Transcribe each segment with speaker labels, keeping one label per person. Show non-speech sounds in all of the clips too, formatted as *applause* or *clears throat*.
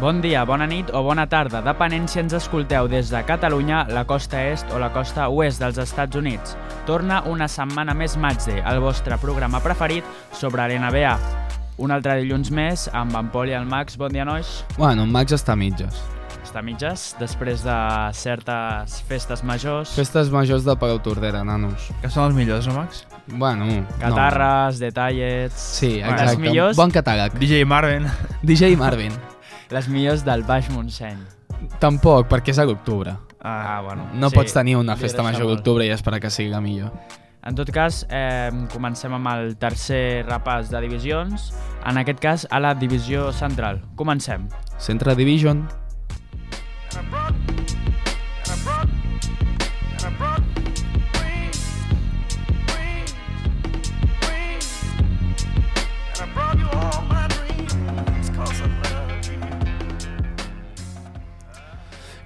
Speaker 1: Bon dia, bona nit o bona tarda, depenent si ens escolteu des de Catalunya, la costa est o la costa oest dels Estats Units. Torna una setmana més Matze, el vostre programa preferit sobre l'NBA. Un altre dilluns més amb en Pol i el Max. Bon dia, nois.
Speaker 2: Bueno, en Max està a mitges.
Speaker 1: Està a mitges, després de certes festes majors,
Speaker 2: Festes majors de Palau Tordera, nanos.
Speaker 3: Que són els millors, no, Max?
Speaker 2: Bueno, no.
Speaker 1: catarres, detallets...
Speaker 2: Sí,
Speaker 1: Bueno,
Speaker 2: exacte.
Speaker 1: Les millors,
Speaker 2: Bon catàleg.
Speaker 1: *laughs*
Speaker 3: DJ Marvin.
Speaker 2: DJ Marvin.
Speaker 1: les millors del Baix Montseny.
Speaker 2: Tampoc, perquè és a l'octubre.
Speaker 1: Ah, bueno.
Speaker 2: No
Speaker 1: sí,
Speaker 2: pots tenir una
Speaker 1: li
Speaker 2: festa
Speaker 1: agrada
Speaker 2: major
Speaker 1: molt.
Speaker 2: d'octubre i esperar que sigui la millor.
Speaker 1: En tot cas, eh, comencem amb el tercer repàs de divisions, en aquest cas a la divisió central. Comencem.
Speaker 2: Centre Division.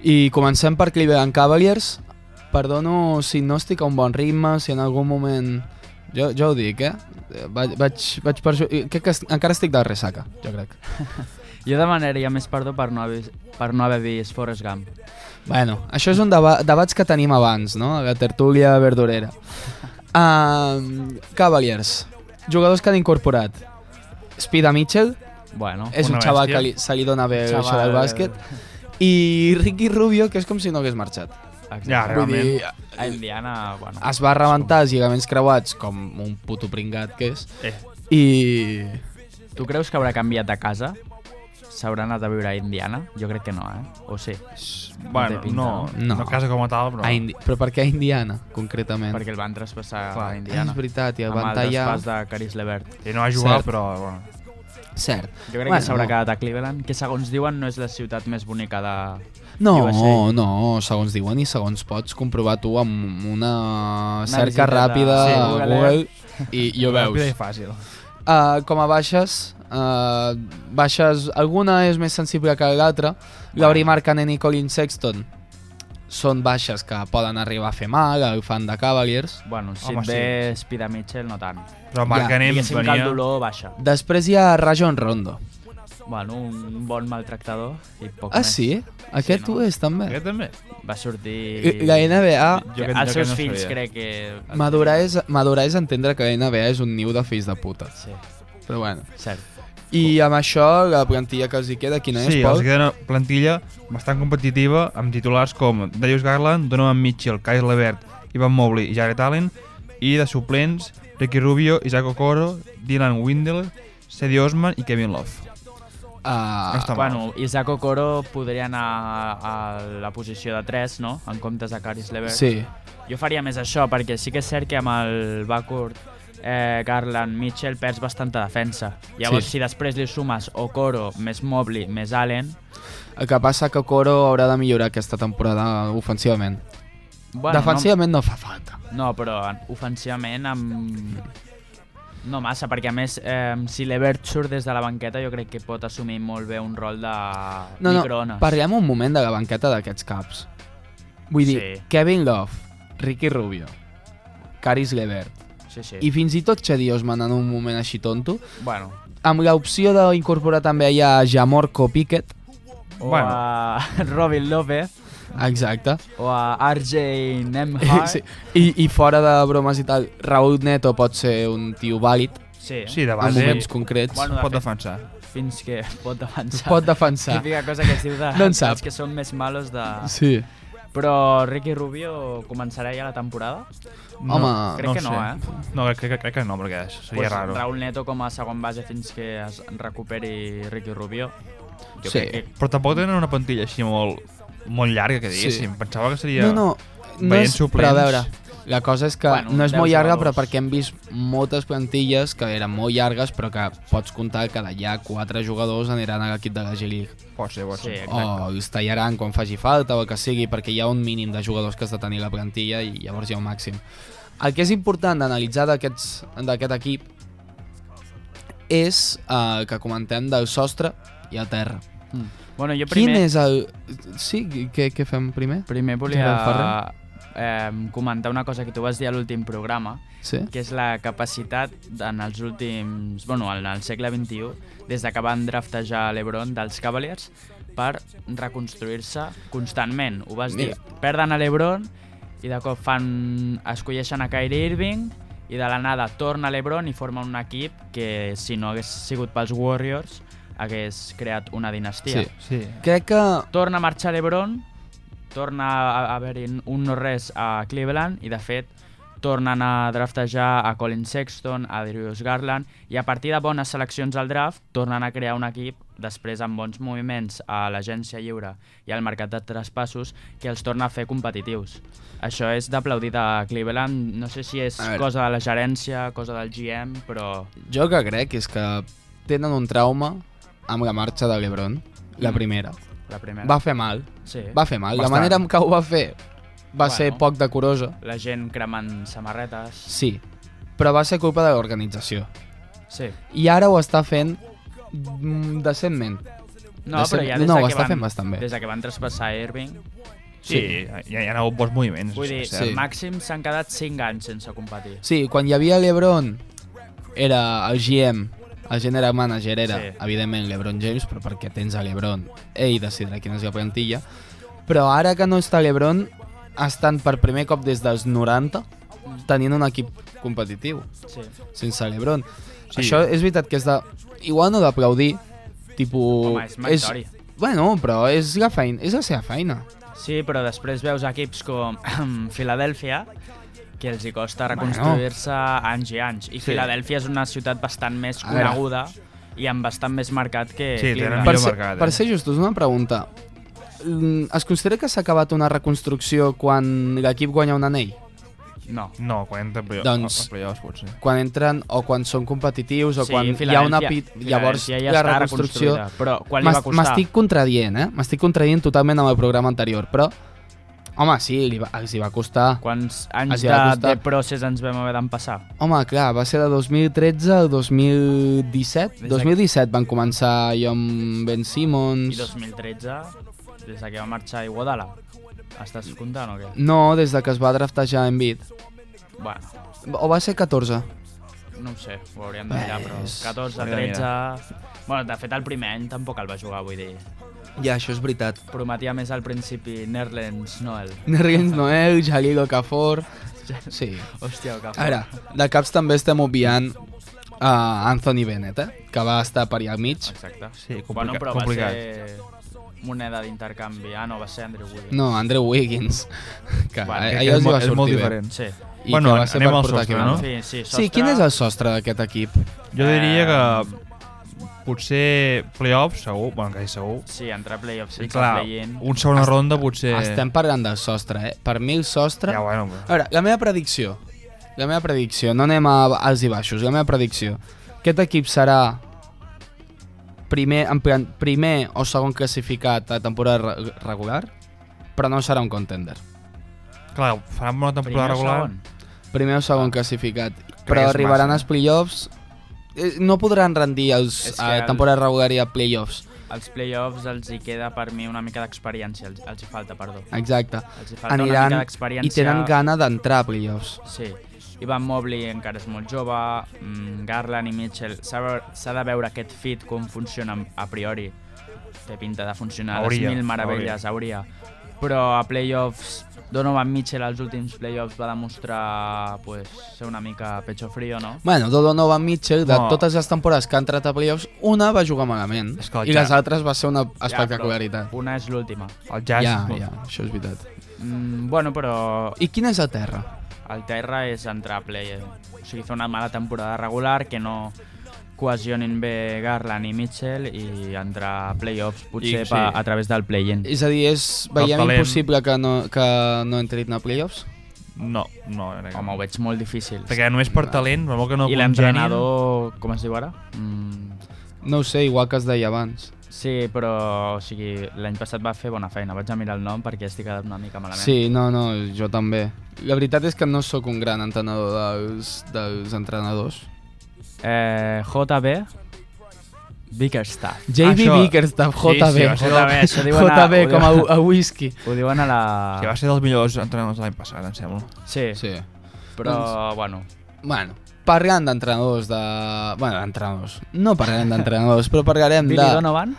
Speaker 2: I comencem per Cleveland Cavaliers. Perdono si no estic a un bon ritme, si en algun moment... Jo, jo ho dic, eh? Vaig, vaig, vaig perju... Crec que es- encara estic de ressaca, jo crec.
Speaker 1: Jo demanaria més perdó per no haver, per no haver vist Forrest Gump.
Speaker 2: Bueno, això és un deba debats que tenim abans, no? A la tertúlia verdurera. Um, Cavaliers. Jugadors que han incorporat. Spida Mitchell,
Speaker 1: Bueno,
Speaker 2: és
Speaker 3: Una
Speaker 2: un xaval
Speaker 3: bèstia.
Speaker 2: que li, se li dona bé
Speaker 1: Xaval.
Speaker 2: això del bàsquet. I Ricky Rubio, que és com si no hagués marxat.
Speaker 1: exacte.
Speaker 3: Ja, realment.
Speaker 2: Vull dir,
Speaker 1: A Indiana, bueno,
Speaker 2: es va rebentar els lligaments creuats com un puto pringat que és
Speaker 3: Eh,
Speaker 2: i
Speaker 1: tu creus que haurà canviat de casa? S'haurà anat a viure a Indiana? Jo crec que no, eh? O sí,
Speaker 3: bueno,
Speaker 1: té pinta,
Speaker 3: no,
Speaker 2: no?
Speaker 3: no, no casa com a tal, però...
Speaker 2: a Indi però per què a Indiana concretament?
Speaker 1: perquè el van traspassar
Speaker 3: Clar,
Speaker 1: a
Speaker 2: Ah,
Speaker 1: Indiana.
Speaker 2: és veritat, i el
Speaker 1: amb
Speaker 2: van
Speaker 1: el
Speaker 2: tallar...
Speaker 1: traspàs de Caris Levert.
Speaker 3: I no ha jugat,
Speaker 2: Cert.
Speaker 3: però... Bueno.
Speaker 2: Cert.
Speaker 1: Jo crec
Speaker 2: Bueno,
Speaker 1: que s'haurà
Speaker 2: no.
Speaker 1: quedat a Cleveland, que segons diuen no és la ciutat més bonica de...
Speaker 2: No,
Speaker 1: USA.
Speaker 2: no, segons diuen i segons pots comprovar tu amb una, cerca
Speaker 1: visita de-
Speaker 2: ràpida
Speaker 1: Sí,
Speaker 2: a
Speaker 1: Google
Speaker 2: Google i, i ho
Speaker 3: Ràpida
Speaker 2: veus.
Speaker 3: i fàcil.
Speaker 2: Uh, com a baixes, uh, baixes, alguna és més sensible que l'altra. Lauri Markkanen i Colin Sexton són baixes que poden arribar a fer mal al fan de Cavaliers.
Speaker 1: Bueno, si
Speaker 3: Home,
Speaker 1: et ve Spida Mitchell, no tant.
Speaker 3: Però Marcanem ja,
Speaker 1: Diguéssim que el
Speaker 3: venia...
Speaker 1: dolor baixa.
Speaker 2: Després hi ha Rajon Rondo.
Speaker 1: Bueno, un bon maltractador i poc
Speaker 2: Ah,
Speaker 1: més.
Speaker 2: sí? Aquest
Speaker 1: Sí, no?
Speaker 2: ho és, també.
Speaker 3: Aquest també?
Speaker 1: Va sortir...
Speaker 2: I- La NBA...
Speaker 3: Jo que-
Speaker 1: els
Speaker 3: jo que
Speaker 1: seus
Speaker 3: no
Speaker 1: fills
Speaker 3: sabia.
Speaker 1: crec que...
Speaker 2: Madurar és, madurar és entendre que la NBA és un niu de fills de puta.
Speaker 1: Sí,
Speaker 2: Però bueno.
Speaker 1: cert.
Speaker 2: I amb això, la plantilla que els hi queda, quina és,
Speaker 3: sí,
Speaker 2: Pol?
Speaker 3: els queda una plantilla bastant competitiva amb titulars com Darius Garland, Donovan Mitchell, Kyle Levert, Ivan Mobley i Jared Allen i de suplents Ricky Rubio, Isaac Okoro, Dylan Windle, Cedi Osman i Kevin Love.
Speaker 2: Ah,
Speaker 3: No està mal.
Speaker 1: bueno, Isaac Okoro podria anar a, a la posició de 3, no? En comptes de Caris Levert.
Speaker 2: sí.
Speaker 1: Jo faria més això, perquè sí que és cert que amb el Backcourt eh, Garland Mitchell perds bastanta defensa. Llavors,
Speaker 2: Sí.
Speaker 1: si després li sumes Okoro més Mobley més Allen...
Speaker 2: El que passa que Coro haurà de millorar aquesta temporada ofensivament.
Speaker 1: Bueno,
Speaker 2: Defensivament no... fa falta.
Speaker 1: No, però en- ofensivament amb... No massa, perquè a més, eh, si l'Evert surt des de la banqueta, jo crec que pot assumir molt bé un rol de
Speaker 2: No, no,
Speaker 1: microones.
Speaker 2: parlem un moment de la banqueta d'aquests caps. Vull dir,
Speaker 1: Sí.
Speaker 2: Kevin Love, Ricky Rubio, Caris Levert
Speaker 1: Sí, sí.
Speaker 2: i fins i tot Chedi Osman en un moment així tonto,
Speaker 1: Bueno,
Speaker 2: amb l'opció d'incorporar també hi ha Jamorco Pickett,
Speaker 1: o
Speaker 3: Bueno.
Speaker 1: a *laughs* Robin López,
Speaker 2: exacte,
Speaker 1: o a RJ Nemhard.
Speaker 2: *laughs* sí. I, i fora de bromes i tal, Raúl Neto pot ser un tio vàlid
Speaker 1: sí.
Speaker 3: Sí, de
Speaker 2: en
Speaker 3: base
Speaker 2: moments concrets,
Speaker 1: Bueno, de
Speaker 3: pot
Speaker 1: fet-
Speaker 3: defensar.
Speaker 1: Fins que pot avançar.
Speaker 2: pot defensar.
Speaker 1: Típica cosa que es diu de,
Speaker 2: No en sap.
Speaker 1: dels que són més malos de...
Speaker 2: Sí.
Speaker 1: Però Ricky Rubio començarà ja la temporada?
Speaker 2: Home,
Speaker 1: Crec
Speaker 3: ho
Speaker 1: que no,
Speaker 3: sé.
Speaker 1: eh?
Speaker 3: No, crec, crec, crec que no, perquè seria
Speaker 1: Pues
Speaker 3: raro.
Speaker 1: Raúl Neto com a segon base fins que es recuperi Ricky Rubio. Jo
Speaker 2: Sí.
Speaker 1: crec que
Speaker 3: Però tampoc tenen una plantilla així molt, molt llarga, que diguéssim. Sí. Pensava que seria...
Speaker 2: No, no, no
Speaker 3: Veient
Speaker 2: és, però
Speaker 3: suplents.
Speaker 2: a veure, la cosa és que
Speaker 1: Bueno,
Speaker 2: bueno, no és
Speaker 1: 10
Speaker 2: molt llarga,
Speaker 1: jugadors.
Speaker 2: però perquè hem vist moltes plantilles que eren molt llargues, però que pots comptar que d'allà quatre jugadors aniran a l'equip de la G-League.
Speaker 3: Pot ser, pot
Speaker 1: Sí,
Speaker 3: ser.
Speaker 1: exacte.
Speaker 2: O els tallaran quan faci falta o el que sigui, perquè hi ha un mínim de jugadors que has de tenir a la plantilla i llavors hi ha un màxim. El que és important d'analitzar d'aquests- d'aquest equip és eh, el que comentem del sostre i el terra.
Speaker 1: Mm. Bueno, jo
Speaker 2: Primer.
Speaker 1: primer,
Speaker 2: Quin és el... Sí, què, què fem primer?
Speaker 1: primer
Speaker 2: Gerard
Speaker 1: volia
Speaker 2: Ferrer?
Speaker 1: eh, comentar una cosa que tu vas dir a l'últim programa,
Speaker 2: Sí?
Speaker 1: que és la capacitat en els últims... Bueno, en el segle XXI, des de que van draftejar l'Ebron dels Cavaliers, per reconstruir-se constantment. Ho vas
Speaker 2: Mira.
Speaker 1: dir, perden a l'Ebron i de cop fan, escolleixen a Kyrie Irving i de la nada torna a l'Ebron i forma un equip que si no hagués sigut pels Warriors hagués creat una dinastia.
Speaker 2: Sí.
Speaker 3: Sí.
Speaker 2: Crec que...
Speaker 1: Torna a marxar a l'Ebron, torna a a haver-hi un no-res a Cleveland i, de fet, tornen a draftejar a Colin Sexton, a Darius Garland i a partir de bones seleccions al draft tornen a crear un equip després amb bons moviments a l'agència lliure i al mercat de traspassos que els torna a fer competitius. Això és d'aplaudir a Cleveland, no sé si és
Speaker 2: A veure.
Speaker 1: cosa de la gerència, cosa del GM, però
Speaker 2: Jo que crec és que tenen un trauma amb la marxa de l'Ebron, la
Speaker 1: Mm.
Speaker 2: primera.
Speaker 1: la primera...
Speaker 2: Va fer mal,
Speaker 1: sí.
Speaker 2: va fer mal. La
Speaker 3: Bastant.
Speaker 2: manera en què ho va fer va
Speaker 1: Bueno.
Speaker 2: ser poc decorosa,
Speaker 1: La gent cremant samarretes...
Speaker 2: sí, però va ser culpa de l'organització.
Speaker 1: Sí.
Speaker 2: I ara ho està fent mm, decentment.
Speaker 1: No,
Speaker 2: De ser-
Speaker 1: però ja des
Speaker 2: no,
Speaker 1: de
Speaker 2: ho
Speaker 1: que
Speaker 2: està
Speaker 1: van,
Speaker 2: fent bastant bé.
Speaker 1: Des de que van traspassar Irving.
Speaker 3: Sí, hi ha, hi ha hagut bons moviments.
Speaker 1: Vull dir,
Speaker 3: és
Speaker 1: sí.
Speaker 3: cert.
Speaker 1: màxim s'han quedat 5 anys sense competir.
Speaker 2: Sí, quan hi havia l'Ebron era el GM, el general manager era,
Speaker 1: Sí.
Speaker 2: sí. evidentment, l'Ebron James, però perquè tens a l'Ebron, ell decidirà quina és la plantilla. Però ara que no està l'Ebron, estan per primer cop des dels 90 tenint un equip competitiu,
Speaker 1: Sí.
Speaker 2: sense l'Ebron.
Speaker 3: Sí.
Speaker 2: Sí. Això és veritat que és de... Igual no d'aplaudir, tipus...
Speaker 1: Home, és meritori.
Speaker 2: Bueno, però és la feina, és la seva feina.
Speaker 1: Sí, però després veus equips com *clears throat* Filadèlfia, que els hi costa reconstruir-se anys i anys. I
Speaker 3: Sí.
Speaker 1: Filadèlfia és una ciutat bastant més
Speaker 2: A veure.
Speaker 1: coneguda i amb bastant més mercat que
Speaker 3: Sí, tenen
Speaker 1: Cleveland.
Speaker 2: per
Speaker 3: millor
Speaker 2: ser,
Speaker 3: mercat, eh?
Speaker 2: per ser justos, una pregunta. Mm, Es considera que s'ha acabat una reconstrucció quan l'equip guanya un anell?
Speaker 1: No.
Speaker 3: No, 40 play
Speaker 2: Doncs-
Speaker 3: doncs... playoffs potser.
Speaker 2: Quan entren o quan són competitius o
Speaker 1: sí,
Speaker 2: quan hi ha
Speaker 1: Filadèlfia-
Speaker 2: una pit... Llavors,
Speaker 1: Filadèlfia ja
Speaker 2: la
Speaker 1: està
Speaker 2: reconstrucció...
Speaker 1: reconstruïda, Però quan li va
Speaker 2: M'es-
Speaker 1: costar?
Speaker 2: M'estic contradient, eh? M'estic contradient totalment amb el programa anterior, però... Home, sí, li va, els hi va costar.
Speaker 1: Quants anys
Speaker 2: Els hi
Speaker 1: de,
Speaker 2: va costar.
Speaker 1: de procés ens vam haver d'empassar?
Speaker 2: Home, clar, va ser de 2013 al 2017.
Speaker 1: Des de-
Speaker 2: 2017 van començar jo amb Ben
Speaker 1: I
Speaker 2: Simmons...
Speaker 1: 2013, des de que va marxar Iguodala. Estàs comptant o què?
Speaker 2: No, des de que es va draftejar Embiid.
Speaker 1: Bueno,
Speaker 2: O va ser 14?
Speaker 1: no ho sé, ho hauríem de mirar, però
Speaker 2: Ves.
Speaker 1: 14,
Speaker 3: Hauria de
Speaker 1: 13... Bueno, de fet, el primer any tampoc el va jugar, vull dir.
Speaker 2: Ja, això és veritat. *laughs*
Speaker 1: Prometia més al principi Nerlens Noel.
Speaker 2: Nergens Noel, Jalil Okafor... Sí.
Speaker 1: Hòstia, el
Speaker 2: A
Speaker 1: cap.
Speaker 2: veure, de caps també estem obviant a Anthony Bennett, eh? que va estar per allà al mig.
Speaker 1: Exacte.
Speaker 3: Sí, complica-
Speaker 1: bueno, però
Speaker 3: complicat.
Speaker 1: va ser moneda d'intercanvi. Ah, no, va ser Andrew Williams.
Speaker 2: No, Andrew Wiggins. *laughs* Que
Speaker 1: Bueno,
Speaker 2: a-
Speaker 1: crec
Speaker 3: Que
Speaker 2: allò
Speaker 3: és,
Speaker 2: els
Speaker 3: mo-
Speaker 2: va
Speaker 3: és molt
Speaker 2: sortir bé.
Speaker 3: diferent.
Speaker 1: Sí.
Speaker 2: I
Speaker 3: Bueno,
Speaker 2: que va ser
Speaker 3: anem
Speaker 2: per
Speaker 3: al
Speaker 2: portar
Speaker 3: sostre,
Speaker 2: Kevin
Speaker 3: no?
Speaker 2: Durant.
Speaker 1: Sí, sí, sostre...
Speaker 2: Sí, quin és el sostre d'aquest equip?
Speaker 3: Jo diria
Speaker 1: Eh,
Speaker 3: que potser playoffs, segur, bueno, quasi segur.
Speaker 1: Sí, entrar a playoffs,
Speaker 3: Sí,
Speaker 1: sí,
Speaker 3: clar,
Speaker 1: play-in.
Speaker 3: un segona
Speaker 2: Est-
Speaker 3: ronda potser...
Speaker 2: Estem parlant del sostre, eh? Per mi el sostre...
Speaker 3: Ja, bueno,
Speaker 2: A veure, la meva predicció. La meva predicció. No anem a alts i baixos. La meva predicció. Aquest equip serà primer, en plan, primer o segon classificat a temporada re- regular, però no serà un contender.
Speaker 3: clar, faran una temporada
Speaker 1: Primer o
Speaker 3: regular.
Speaker 1: segon?
Speaker 2: Primer o segon classificat.
Speaker 3: que
Speaker 2: Però
Speaker 3: és
Speaker 2: arribaran
Speaker 3: massa.
Speaker 2: als playoffs. eh, No podran rendir
Speaker 1: És
Speaker 2: els,
Speaker 1: que
Speaker 2: a
Speaker 1: el-
Speaker 2: temporada regular i a playoffs.
Speaker 1: Els play-offs els hi queda per mi una mica d'experiència, els, els hi falta, perdó.
Speaker 2: Exacte.
Speaker 1: Els hi falta una mica
Speaker 2: Aniran i
Speaker 1: d'experiència.
Speaker 2: tenen gana d'entrar a playoffs.
Speaker 1: Sí. Ivan Mobley encara és molt jove, mm, Garland i Mitchell, s'ha de- s'ha de veure aquest fit com funciona a priori. Té pinta de funcionar a les
Speaker 3: Hauria,
Speaker 1: mil meravelles, hauria. Però a playoffs, Donovan Mitchell als últims playoffs va demostrar pues, ser una mica pecho frío, no?
Speaker 2: Bueno, Donovan Mitchell, de
Speaker 3: No.
Speaker 2: totes les temporades que ha entrat a playoffs, una va jugar malament
Speaker 3: És que el
Speaker 2: i
Speaker 3: ja-
Speaker 2: les altres va ser una
Speaker 1: Ja, però
Speaker 2: espectacularitat.
Speaker 1: una és l'última.
Speaker 3: El
Speaker 2: Ja,
Speaker 3: jazz...
Speaker 2: ja,
Speaker 3: no.
Speaker 2: això és veritat.
Speaker 1: Mm, bueno, però
Speaker 2: I quina és la terra?
Speaker 1: El terra és entrar a play. O sigui, fer una mala temporada regular que no cohesionin bé Garland i Mitchell i entrar a playoffs potser
Speaker 3: I-
Speaker 1: I,
Speaker 3: sí.
Speaker 1: sí. pa, a través del play-in.
Speaker 2: És a dir, és, veiem
Speaker 3: talent.
Speaker 2: impossible que no, que no entrin a playoffs?
Speaker 3: No, no, crec que
Speaker 1: Home, ho
Speaker 3: no.
Speaker 1: veig molt difícil.
Speaker 3: Perquè només per talent, per molt que no
Speaker 1: I
Speaker 3: congenin,
Speaker 1: l'entrenador, com es diu ara? Mm,
Speaker 2: No ho sé, igual que es deia abans.
Speaker 1: sí, però o sigui, l'any passat va fer bona feina. Vaig a mirar el nom perquè estic quedat una mica malament.
Speaker 2: Sí, no, no, jo també. La veritat és que no sóc un gran entrenador dels, dels entrenadors.
Speaker 1: Eh, JB Bickerstaff.
Speaker 2: JB
Speaker 3: Això-
Speaker 2: Bickerstaff,
Speaker 3: Sí,
Speaker 2: JB.
Speaker 3: sí, va ser
Speaker 1: JB, això diuen a,
Speaker 2: JB,
Speaker 1: ho
Speaker 2: com a,
Speaker 1: diuen-
Speaker 2: a whisky.
Speaker 1: Ho diuen a la...
Speaker 3: Que va ser dels millors entrenadors de l'any passat, em sembla.
Speaker 1: Sí,
Speaker 2: Sí.
Speaker 3: Doncs
Speaker 1: però, bueno,
Speaker 2: Bueno, parlant d'entrenadors de... Bueno, d'entrenadors. No parlarem d'entrenadors,
Speaker 1: *laughs*
Speaker 2: però parlarem
Speaker 1: Billy
Speaker 2: de...
Speaker 1: Donovan?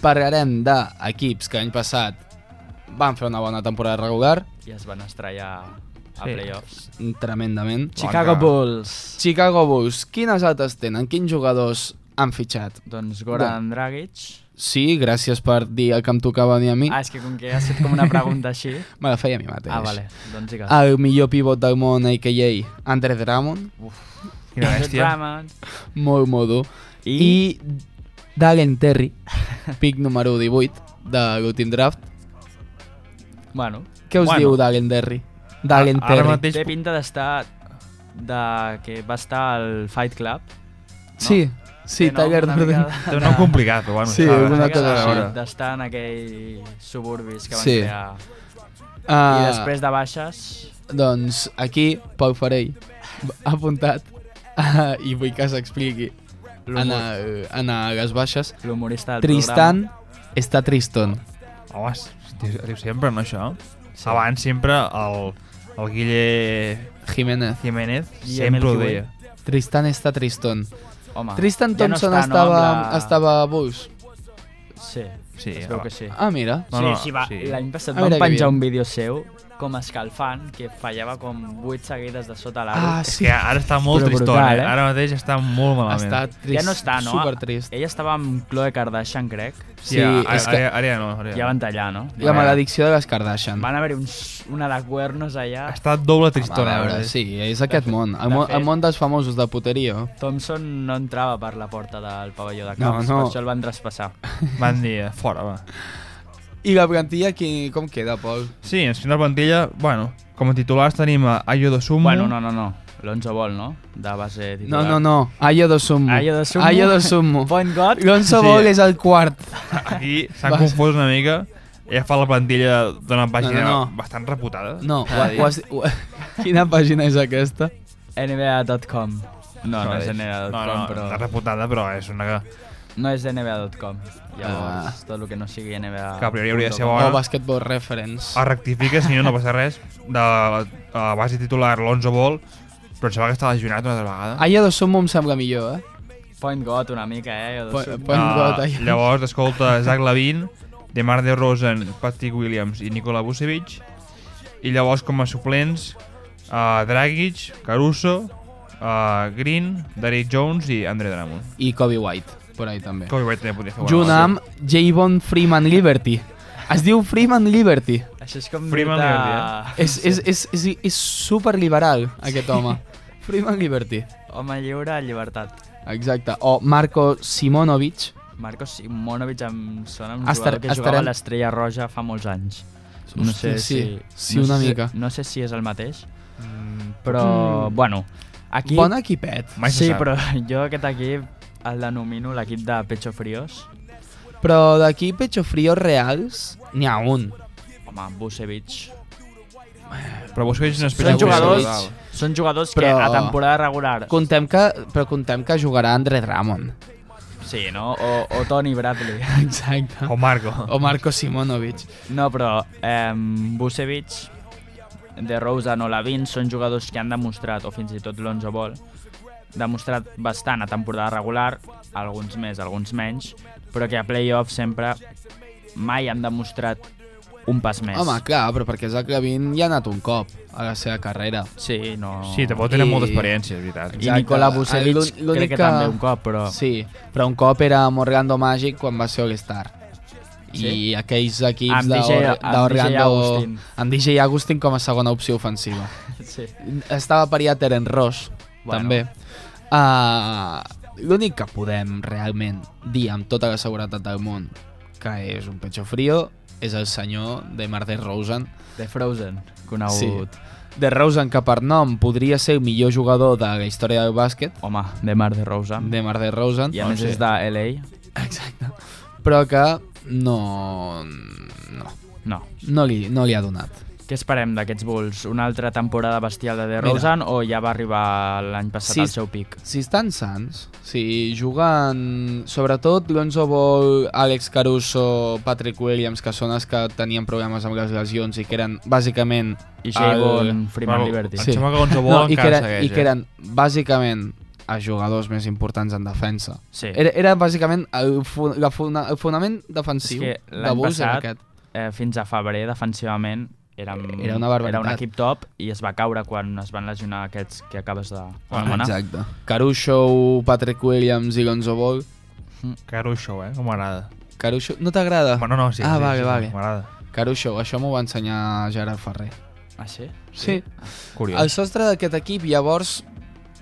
Speaker 2: Parlarem d'equips que l'any passat van fer una bona temporada regular,
Speaker 1: I es van estrellar a
Speaker 3: Sí.
Speaker 1: playoffs.
Speaker 2: tremendament.
Speaker 1: Chicago Bulls.
Speaker 2: Chicago Bulls, quines altres tenen? Quins jugadors han fitxat?
Speaker 1: Doncs Goran Dragic.
Speaker 2: Sí, gràcies per dir el que em tocava dir a mi.
Speaker 1: Ah, és que com que has fet com una pregunta
Speaker 2: *laughs*
Speaker 1: així...
Speaker 2: Me la feia a mi mateix.
Speaker 1: Ah, vale. Doncs digues.
Speaker 2: El millor pivot del món, a.k.a. Andre Drummond,
Speaker 3: Quina
Speaker 1: Andre
Speaker 3: bèstia.
Speaker 1: Drummond.
Speaker 2: molt modo.
Speaker 1: I, I
Speaker 2: I, Dagen
Speaker 1: *laughs*
Speaker 2: Terry, pic número 18 de l'últim draft.
Speaker 1: bueno,
Speaker 2: Què us
Speaker 3: Bueno.
Speaker 2: diu Dagen Terry? Dagen
Speaker 3: Ara
Speaker 2: Terry.
Speaker 3: mateix...
Speaker 1: té pinta d'estar de que va estar al Fight Club.
Speaker 2: Sí, sí,
Speaker 1: Té nom
Speaker 2: Tiger
Speaker 1: una
Speaker 2: Durden.
Speaker 1: mica de-
Speaker 3: Té un nom complicat, però bueno,
Speaker 2: Sí,
Speaker 3: s'ha de-
Speaker 2: alguna
Speaker 3: s'ha de
Speaker 2: cosa així.
Speaker 3: veure.
Speaker 1: D'estar en aquells suburbis que van
Speaker 2: Sí.
Speaker 1: crear. I
Speaker 2: Ah,
Speaker 1: després de baixes...
Speaker 2: Doncs aquí, Pau Farell ha apuntat ah, i vull que s'expliqui eh, en, el- en les baixes.
Speaker 1: L'humorista del
Speaker 2: Tristan està Triston.
Speaker 3: Home, es es diu, es diu sempre, no, això?
Speaker 1: Sí.
Speaker 3: Sí. Abans sempre el, el Guille
Speaker 2: Jiménez.
Speaker 3: Jiménez
Speaker 1: I
Speaker 3: sempre ho
Speaker 1: MLQB.
Speaker 3: deia.
Speaker 2: Tristan està Triston.
Speaker 1: programa. Home,
Speaker 2: Tristan
Speaker 1: Ah. ja no
Speaker 2: Thompson
Speaker 1: està, no,
Speaker 2: estava,
Speaker 1: amb la-
Speaker 2: estava a Bulls.
Speaker 1: Sí,
Speaker 3: Sí,
Speaker 1: es veu
Speaker 3: va.
Speaker 1: que sí.
Speaker 2: Ah, mira.
Speaker 3: No, no,
Speaker 1: sí, sí, va.
Speaker 3: sí.
Speaker 1: L'any passat
Speaker 2: A
Speaker 1: van
Speaker 2: veure què
Speaker 1: penjar
Speaker 2: diem.
Speaker 1: un vídeo seu com escalfant, que fallava com 8 seguides de sota l'aro.
Speaker 2: Ah,
Speaker 3: És
Speaker 2: sí.
Speaker 3: que ara està molt
Speaker 1: Però
Speaker 3: tristó,
Speaker 1: brutal,
Speaker 3: eh?
Speaker 1: eh?
Speaker 3: Ara mateix està molt malament.
Speaker 2: Està trist,
Speaker 1: ja no està, no?
Speaker 2: supertrist.
Speaker 1: Ella estava amb Khloe Kardashian, crec.
Speaker 2: Sí,
Speaker 3: ara,
Speaker 2: és que
Speaker 3: ara, ara ja no. Ara ja.
Speaker 1: Ja van tallar, no?
Speaker 2: la maledicció de les Kardashian.
Speaker 1: Van haver-hi uns, una de cuernos allà.
Speaker 3: Està doble
Speaker 2: Home,
Speaker 3: tristona, eh?
Speaker 2: a veure, sí, és aquest món. El,
Speaker 1: de
Speaker 2: món,
Speaker 1: fet-
Speaker 2: el món dels famosos de puteria.
Speaker 1: Thompson no entrava per la porta del pavelló de
Speaker 2: No,
Speaker 1: camps,
Speaker 2: no.
Speaker 1: per això el van traspassar.
Speaker 3: Van dir, eh, fora, va.
Speaker 2: I la plantilla, qui, com queda, Pol?
Speaker 3: Sí, ens queda la plantilla, bueno, com a titulars tenim a Ayo Dosumu.
Speaker 1: Bueno, no, no, no. L'Onzo Ball, no? De base
Speaker 2: No,
Speaker 1: titular.
Speaker 2: no, no. Ayo de Sumo.
Speaker 1: Ayo Dosunmu.
Speaker 2: Ayo de *laughs* Sumo.
Speaker 1: Point God.
Speaker 2: L'Onso
Speaker 3: Sí.
Speaker 2: Ball és el quart.
Speaker 3: Aquí s'han
Speaker 2: Vas.
Speaker 3: confós una mica. Ella fa la plantilla d'una
Speaker 2: No,
Speaker 3: pàgina
Speaker 2: no, no.
Speaker 3: bastant reputada.
Speaker 2: No, ho,
Speaker 3: s'ha de dir.
Speaker 2: ho has, ho, *laughs* quina pàgina és aquesta?
Speaker 1: NBA.com. No, no, és
Speaker 3: no,
Speaker 1: NBA.com,
Speaker 3: no,
Speaker 1: però...
Speaker 3: està reputada, però és una que,
Speaker 1: No és NBA.com. Llavors,
Speaker 2: Ah.
Speaker 1: tot el que no sigui NBA...
Speaker 3: que a priori hauria de ser
Speaker 2: O
Speaker 3: bona.
Speaker 2: Basketball Reference.
Speaker 3: es rectifica, si no, no passa res. De la a la base titular, l'Onzo Ball, però em sembla que està lesionat una altra vegada.
Speaker 2: Ayo de Sumo em sembla millor, eh?
Speaker 1: Point God una mica, eh? Jo de
Speaker 2: Po-
Speaker 1: sud.
Speaker 2: po- Point guard, allà.
Speaker 3: Ah, llavors, escolta, Zach Lavin, DeMar DeRozan, Patrick Williams i Nikola Vucevic. I llavors, com a suplents, uh, Dragic, Caruso, uh, Green, Derrick Jones i Andre Drummond.
Speaker 2: I Kobe White, per ahí també.
Speaker 3: Kobe White també podria fer bona
Speaker 2: Junt
Speaker 3: base.
Speaker 2: amb Javon Freeman Liberty. Es diu Freeman Liberty.
Speaker 1: Això és com
Speaker 3: Freeman eh?
Speaker 1: dir-te-
Speaker 3: Liberty,
Speaker 2: És, és, és, és, és superliberal, aquest *laughs* home. Freeman Liberty.
Speaker 1: Home lliure, llibertat.
Speaker 2: Exacte. O Marco Simonovic.
Speaker 1: Marcos Simonovic em sona un
Speaker 2: Estar-
Speaker 1: jugador que jugava a
Speaker 2: estarem-
Speaker 1: l'Estrella Roja fa molts anys. No sé
Speaker 2: Hòstia, sí.
Speaker 1: si...
Speaker 2: Sí,
Speaker 1: no
Speaker 2: una
Speaker 1: sé, si-
Speaker 2: mica. Mm.
Speaker 1: No sé si és el mateix, però, bueno, aquí...
Speaker 2: Bon equipet.
Speaker 3: Mm, Mai se
Speaker 1: sí,
Speaker 3: sap.
Speaker 1: però *laughs* jo aquest equip el denomino l'equip de Pecho Fríos.
Speaker 2: Però d'aquí Pecho Fríos reals, n'hi ha un.
Speaker 1: Home, Vucevic.
Speaker 3: Però Vucevic no és
Speaker 1: Són
Speaker 2: Vucevic.
Speaker 1: jugadors,
Speaker 3: total.
Speaker 1: són jugadors que
Speaker 2: Però-
Speaker 1: a temporada regular...
Speaker 2: Contem que, però contem que jugarà Andre Drummond.
Speaker 1: Sí, no? O, o Tony Bradley. *laughs*
Speaker 2: Exacte.
Speaker 3: O Marco.
Speaker 2: O Marco Simonovic.
Speaker 1: No, però eh, Vucevic, De Rosa, no Lavin, són jugadors que han demostrat, o fins i tot l'Onzo Ball, demostrat bastant a temporada regular, alguns més, alguns menys, però que a playoff sempre mai han demostrat un pas més.
Speaker 2: Home, clar, però perquè Zach Levine ja ha anat un cop a la seva carrera.
Speaker 1: Sí, no...
Speaker 3: Sí, tampoc tenen
Speaker 2: I-
Speaker 3: molta experiència, és veritat.
Speaker 1: I Nicola
Speaker 2: Ah, l'ú-
Speaker 1: Vucevic crec
Speaker 2: l'únic
Speaker 1: que també un cop, però...
Speaker 2: Sí, però un cop era amb Orlando Magic quan va ser All-Star.
Speaker 1: Sí?
Speaker 2: I aquells equips
Speaker 1: Amb DJ
Speaker 2: d'Or-
Speaker 1: amb DJ
Speaker 2: d'Orlando...
Speaker 1: Agustin.
Speaker 2: Amb DJ Agustin com a segona opció ofensiva.
Speaker 1: sí.
Speaker 2: Estava pariat Eren Ross,
Speaker 1: Bueno.
Speaker 2: bueno. també. Uh, L'únic que podem realment dir amb tota la seguretat del món que és un pecho frío és el senyor de Marder Rosen.
Speaker 1: The Frozen, conegut. Sí.
Speaker 2: De Rosen, que per nom podria ser el millor jugador de la història del bàsquet,
Speaker 1: Home, de Mar de Rosa.
Speaker 2: de Marder Rosen,
Speaker 1: Ah. I a més
Speaker 2: sí.
Speaker 1: és de LA.
Speaker 2: Exacte. Però que no... no,
Speaker 1: No.
Speaker 2: no, li, no li ha donat.
Speaker 1: Què esperem d'aquests Bulls? Una altra temporada bestial de DeRozan o ja va arribar l'any passat
Speaker 2: Sí.
Speaker 1: al seu pic?
Speaker 2: Si estan sants, si juguen sobretot Lonzo Ball, Àlex Caruso, Patrick Williams, que són els que tenien problemes amb les lesions i que eren bàsicament...
Speaker 1: I Javon
Speaker 2: El-
Speaker 1: Freeman
Speaker 3: Bueno,
Speaker 1: Liberty.
Speaker 3: Em
Speaker 2: Sí.
Speaker 3: sembla que Gonzo Ball
Speaker 2: i, que
Speaker 3: encara
Speaker 2: eren,
Speaker 3: segueix.
Speaker 2: I que
Speaker 3: eh?
Speaker 2: eren bàsicament els jugadors més importants en defensa.
Speaker 1: Sí.
Speaker 2: Era, era bàsicament el, fo- la fona, el fonament defensiu
Speaker 1: És que
Speaker 2: de
Speaker 1: l'any
Speaker 2: Bulls era
Speaker 1: passat-
Speaker 2: aquest.
Speaker 1: eh, fins a febrer defensivament érem,
Speaker 2: Era una barbaritat.
Speaker 1: era un equip top i es va caure quan es van lesionar aquests que acabes de
Speaker 3: Ah,
Speaker 1: anomenar.
Speaker 2: Exacte. Caruso, Patrick Williams i Lonzo Ball.
Speaker 3: Caruso, eh? Com m'agrada.
Speaker 2: Caruso, no t'agrada?
Speaker 3: Bueno, no, sí.
Speaker 2: Ah,
Speaker 3: sí,
Speaker 2: vale,
Speaker 3: sí,
Speaker 2: vale.
Speaker 3: M'agrada.
Speaker 2: Caruso, això m'ho va ensenyar Gerard Ferrer.
Speaker 1: Ah, sí?
Speaker 2: Sí.
Speaker 3: Curiós.
Speaker 2: El sostre d'aquest equip, llavors,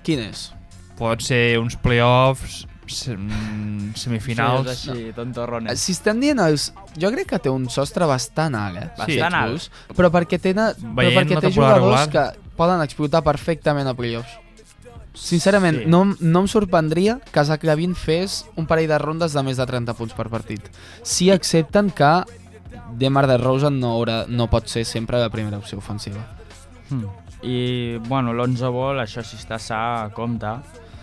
Speaker 2: quin és?
Speaker 3: Pot ser uns playoffs, sem- semifinals...
Speaker 1: Això és així, tontorrones.
Speaker 2: Si estem dient els... Jo crec que té un sostre bastant alt, eh?
Speaker 1: Bastant
Speaker 2: Sí,
Speaker 1: alt.
Speaker 2: Bulls, Però perquè, tenen, però
Speaker 3: Veient
Speaker 2: perquè
Speaker 3: la
Speaker 2: té
Speaker 3: temporada
Speaker 2: jugadors
Speaker 3: regular.
Speaker 2: que poden explotar perfectament a playoffs. Sincerament,
Speaker 1: Sí.
Speaker 2: sí. no, em- no em sorprendria que Zach Lavin fes un parell de rondes de més de 30 punts per partit. Si accepten que Demar de Rosen no, haurà, no pot ser sempre la primera opció ofensiva.
Speaker 1: Mm. I, bueno, l'11 vol, això si està sa, compte.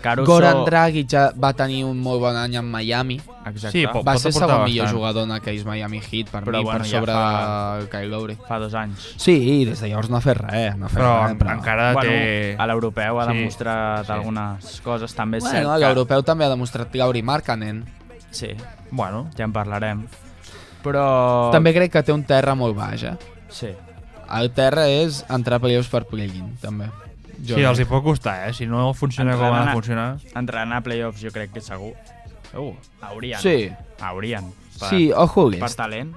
Speaker 1: Caruso...
Speaker 2: Goran Dragic ja va tenir un molt bon any en Miami.
Speaker 1: Exacte.
Speaker 3: Sí,
Speaker 1: Sí,
Speaker 3: pot-
Speaker 2: Va ser
Speaker 3: aportar
Speaker 2: segon millor
Speaker 3: bastant.
Speaker 2: jugador en aquells Miami Heat per
Speaker 1: Però
Speaker 2: mi,
Speaker 1: bueno,
Speaker 2: per
Speaker 1: ja
Speaker 2: sobre
Speaker 1: fa-
Speaker 2: de Kyle Lowry.
Speaker 1: Fa dos anys.
Speaker 2: Sí, i des de llavors no ha fet res, no ha fet
Speaker 3: Però,
Speaker 2: res. Però
Speaker 3: encara
Speaker 1: bueno,
Speaker 3: té...
Speaker 1: a l'europeu ha
Speaker 3: Sí,
Speaker 1: demostrat
Speaker 3: sí.
Speaker 1: algunes coses, també és
Speaker 2: Bueno,
Speaker 1: cert.
Speaker 2: l'europeu també ha demostrat Lowry Markkanen.
Speaker 1: Que... Sí,
Speaker 3: Bueno,
Speaker 1: ja en parlarem. Però...
Speaker 2: També crec que té un terra molt baix, eh?
Speaker 1: Sí.
Speaker 2: El terra és entrar a playoffs per play-in, també.
Speaker 3: sí, els hi
Speaker 2: crec.
Speaker 3: pot costar, eh? Si no funciona com ha
Speaker 1: Entrenant
Speaker 3: de
Speaker 1: a-
Speaker 3: funcionar...
Speaker 1: Entrenar a playoffs jo crec que segur.
Speaker 3: Uh,
Speaker 1: Haurien.
Speaker 2: Sí,
Speaker 1: Haurien. Per,
Speaker 2: sí, ojo,
Speaker 1: per
Speaker 2: List.
Speaker 1: talent.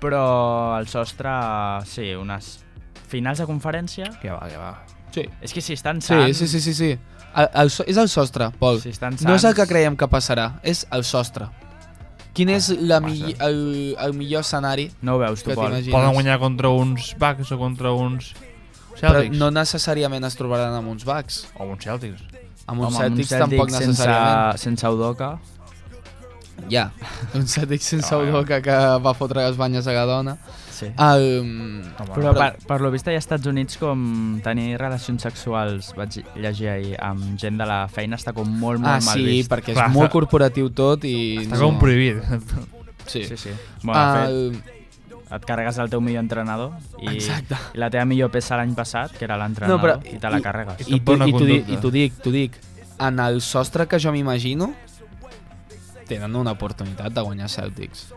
Speaker 1: Però el sostre, sí, unes finals de conferència.
Speaker 3: que va, que va.
Speaker 2: Sí,
Speaker 1: És que si estan
Speaker 2: sí,
Speaker 1: sants...
Speaker 2: sí, sí, sí. sí. El, el, so- és el sostre, Pol.
Speaker 1: Si estan
Speaker 2: No és el que
Speaker 1: sants-
Speaker 2: creiem que passarà, és el sostre. Quin és la mill
Speaker 3: massa.
Speaker 2: el, el millor escenari
Speaker 1: No ho veus, tu,
Speaker 2: que
Speaker 1: Pol.
Speaker 2: t'imagines?
Speaker 3: Poden guanyar contra uns Bucks o contra uns
Speaker 2: doncs. Però
Speaker 3: Celtics.
Speaker 2: no necessàriament es trobaran amb uns Bucks.
Speaker 3: O uns Celtics.
Speaker 2: Amb
Speaker 1: Home, amb
Speaker 2: uns
Speaker 1: un
Speaker 2: Celtics tampoc
Speaker 1: Celtic
Speaker 2: necessàriament.
Speaker 1: Sense, sense Udoca.
Speaker 2: Ja, *laughs* un Celtics sense
Speaker 3: Ah,
Speaker 2: Udoca que va fotre les banyes a la dona.
Speaker 1: Sí.
Speaker 2: Ah, El...
Speaker 3: Home,
Speaker 1: Però per, per lo vist allà als Estats Units com tenir relacions sexuals, vaig llegir ahir, amb gent de la feina està com molt, molt
Speaker 2: Ah,
Speaker 1: mal
Speaker 2: sí,
Speaker 1: vist.
Speaker 2: perquè és
Speaker 3: Clar,
Speaker 2: molt
Speaker 3: està-
Speaker 2: corporatiu tot i...
Speaker 3: Està com prohibit. *laughs*
Speaker 2: Sí.
Speaker 1: Sí,
Speaker 2: sí.
Speaker 1: sí. Bueno, de
Speaker 2: El...
Speaker 1: fet, et carregues el teu millor entrenador i,
Speaker 2: Exacte.
Speaker 1: i la teva millor peça l'any passat, que era l'entrenador,
Speaker 2: No, però-
Speaker 1: i te la carregues.
Speaker 2: I
Speaker 3: Tot
Speaker 2: t'ho
Speaker 3: bona
Speaker 2: i t'ho dic,
Speaker 3: conducta.
Speaker 2: i t'ho dic, t'ho dic. En el sostre que jo m'imagino, tenen una oportunitat de guanyar Celtics.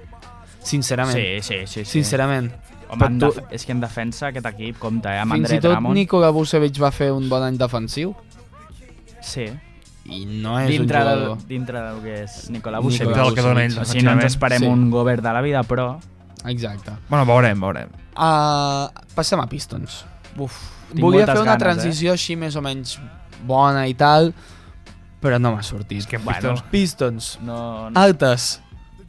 Speaker 2: Sincerament.
Speaker 1: Sí, sí, sí. sí.
Speaker 2: Sincerament.
Speaker 1: Home, en
Speaker 2: però
Speaker 1: def- és que en defensa aquest equip compta, eh? Amb
Speaker 2: Fins i
Speaker 1: André
Speaker 2: tot
Speaker 1: Drummond.
Speaker 2: Nikola Vucevic va fer un bon any defensiu
Speaker 1: Sí.
Speaker 2: i no és
Speaker 1: dintre,
Speaker 2: un
Speaker 1: del,
Speaker 2: jugador.
Speaker 1: dintre del que és Nicola
Speaker 2: Nicola
Speaker 1: Vucevic.
Speaker 2: Del que
Speaker 3: dona ell
Speaker 1: O sigui, no ens esperem
Speaker 2: defensivament.
Speaker 1: un govern de la vida, però...
Speaker 2: Exacte.
Speaker 3: bueno, veurem, veurem.
Speaker 2: Uh, passem a Pistons.
Speaker 1: Uf, tinc
Speaker 2: Volia
Speaker 1: moltes
Speaker 2: fer
Speaker 1: ganes,
Speaker 2: una
Speaker 1: eh?
Speaker 2: transició així més o menys bona i tal, però no m'ha sortit.
Speaker 3: És que Pistons-
Speaker 2: Pistons.
Speaker 1: Eh? No,
Speaker 2: Ah,
Speaker 1: no.
Speaker 2: Altes.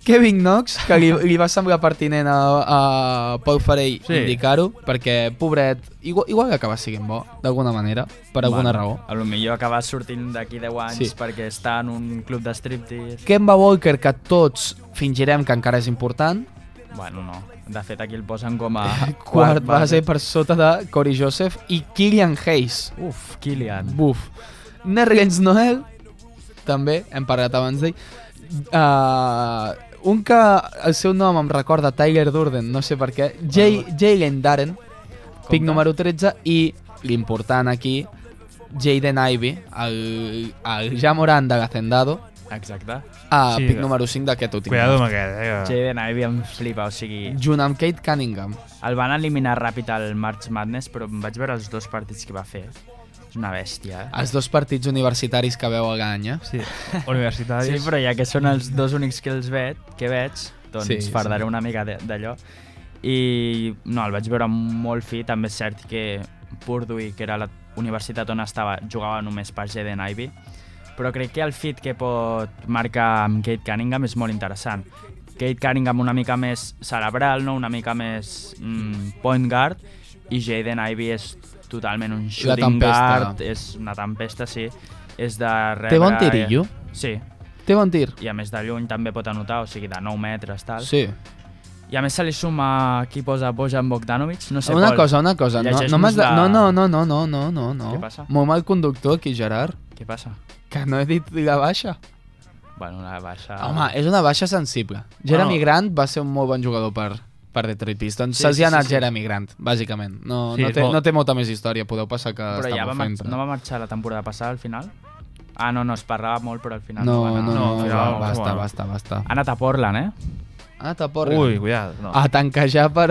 Speaker 2: Kevin Knox, que li, li va semblar pertinent a, a Pol Farell
Speaker 3: Sí.
Speaker 2: sí. indicar-ho, perquè, pobret, igual, igual acaba sent bo, d'alguna manera, per alguna raó.
Speaker 1: A lo millor acaba sortint d'aquí 10 anys
Speaker 2: Sí.
Speaker 1: perquè està en un club de striptease.
Speaker 2: Kemba Walker, que tots fingirem que encara és important,
Speaker 1: Bueno, no. De fet, aquí el posen com a
Speaker 2: *laughs* quart base per sota de Cory Joseph i Killian Hayes.
Speaker 1: Uf, Kilian.
Speaker 2: Buf. Nergens Noel, també, hem parlat abans d'ell. Uh, un que el seu nom em recorda Tyler Durden, no sé per què, Jay- Jalen Darren, pic número 13, i l'important aquí, Jaden Ivey, el, el ja Moran de Gacendado, Ah.
Speaker 1: Exacte.
Speaker 2: a
Speaker 3: Sí,
Speaker 2: sí, pic
Speaker 3: de-
Speaker 2: número 5 d'aquest últim.
Speaker 3: Cuidado amb aquest, eh? Que...
Speaker 1: Jaden Ivey em flipa, o sigui,
Speaker 2: Junt amb Kate Cunningham.
Speaker 1: el van eliminar ràpid al March Madness, però em vaig veure els dos partits que va fer. És una bèstia, eh?
Speaker 2: Els dos partits universitaris que veu a Gany, eh?
Speaker 3: Sí, *laughs* universitaris.
Speaker 1: Sí, però ja que són els dos únics que els veig, que veig, doncs
Speaker 2: Sí,
Speaker 1: sí,
Speaker 2: sí.
Speaker 1: fardaré sí. una mica de- d'allò. I no, el vaig veure molt fi, també és cert que Purdue, que era la universitat on estava, jugava només per Jaden Ivey, però crec que el fit que pot marcar amb Kate Cunningham és molt interessant. Kate Cunningham una mica més cerebral, no? una mica més mm, point guard, i Jaden Ivey és totalment un shooting
Speaker 2: tempesta.
Speaker 1: guard, és una tempesta, sí. És de rebre...
Speaker 2: Té bon tirillo.
Speaker 1: Sí,
Speaker 2: Té bon tir.
Speaker 1: i a més de lluny també pot anotar, o sigui, de 9 metres, tal.
Speaker 2: Sí.
Speaker 1: I a més se li suma qui posa Bojan Bogdanovic, no sé
Speaker 2: una
Speaker 1: Pol.
Speaker 2: cosa, una cosa. No, no, m'has de...
Speaker 1: Llegeix-nos
Speaker 2: no,
Speaker 1: la-
Speaker 2: no, no, no, no, no, no, no.
Speaker 1: Què passa?
Speaker 2: Molt mal conductor aquí, Gerard.
Speaker 1: Què passa?
Speaker 2: Que no he dit la baixa.
Speaker 1: Bueno, una baixa...
Speaker 2: Home, és una baixa sensible. Jeremy
Speaker 1: Ah. Bueno.
Speaker 2: Grant va ser un molt bon jugador per, per Detroit Pistons.
Speaker 1: Sí,
Speaker 2: Se'ls
Speaker 1: sí,
Speaker 2: hi ha anat
Speaker 1: sí, sí.
Speaker 2: Jeremy Grant, bàsicament. No,
Speaker 3: Sí,
Speaker 2: no,
Speaker 3: és
Speaker 2: té,
Speaker 3: molt-
Speaker 2: no té molta més història, podeu passar que
Speaker 1: però
Speaker 2: està
Speaker 1: ja va
Speaker 2: molt
Speaker 1: mar-
Speaker 2: fent. eh.
Speaker 1: no va marxar la temporada passada al final? Ah, no, no, es parlava molt, però al final
Speaker 2: no,
Speaker 1: va
Speaker 2: no,
Speaker 1: anar.
Speaker 2: no,
Speaker 3: No, al
Speaker 2: no,
Speaker 3: final,
Speaker 2: no, basta,
Speaker 3: bueno.
Speaker 2: basta, basta.
Speaker 1: Ha anat a Portland, eh?
Speaker 2: Ah, te
Speaker 3: Ui, cuidado. No.
Speaker 2: A tanquejar per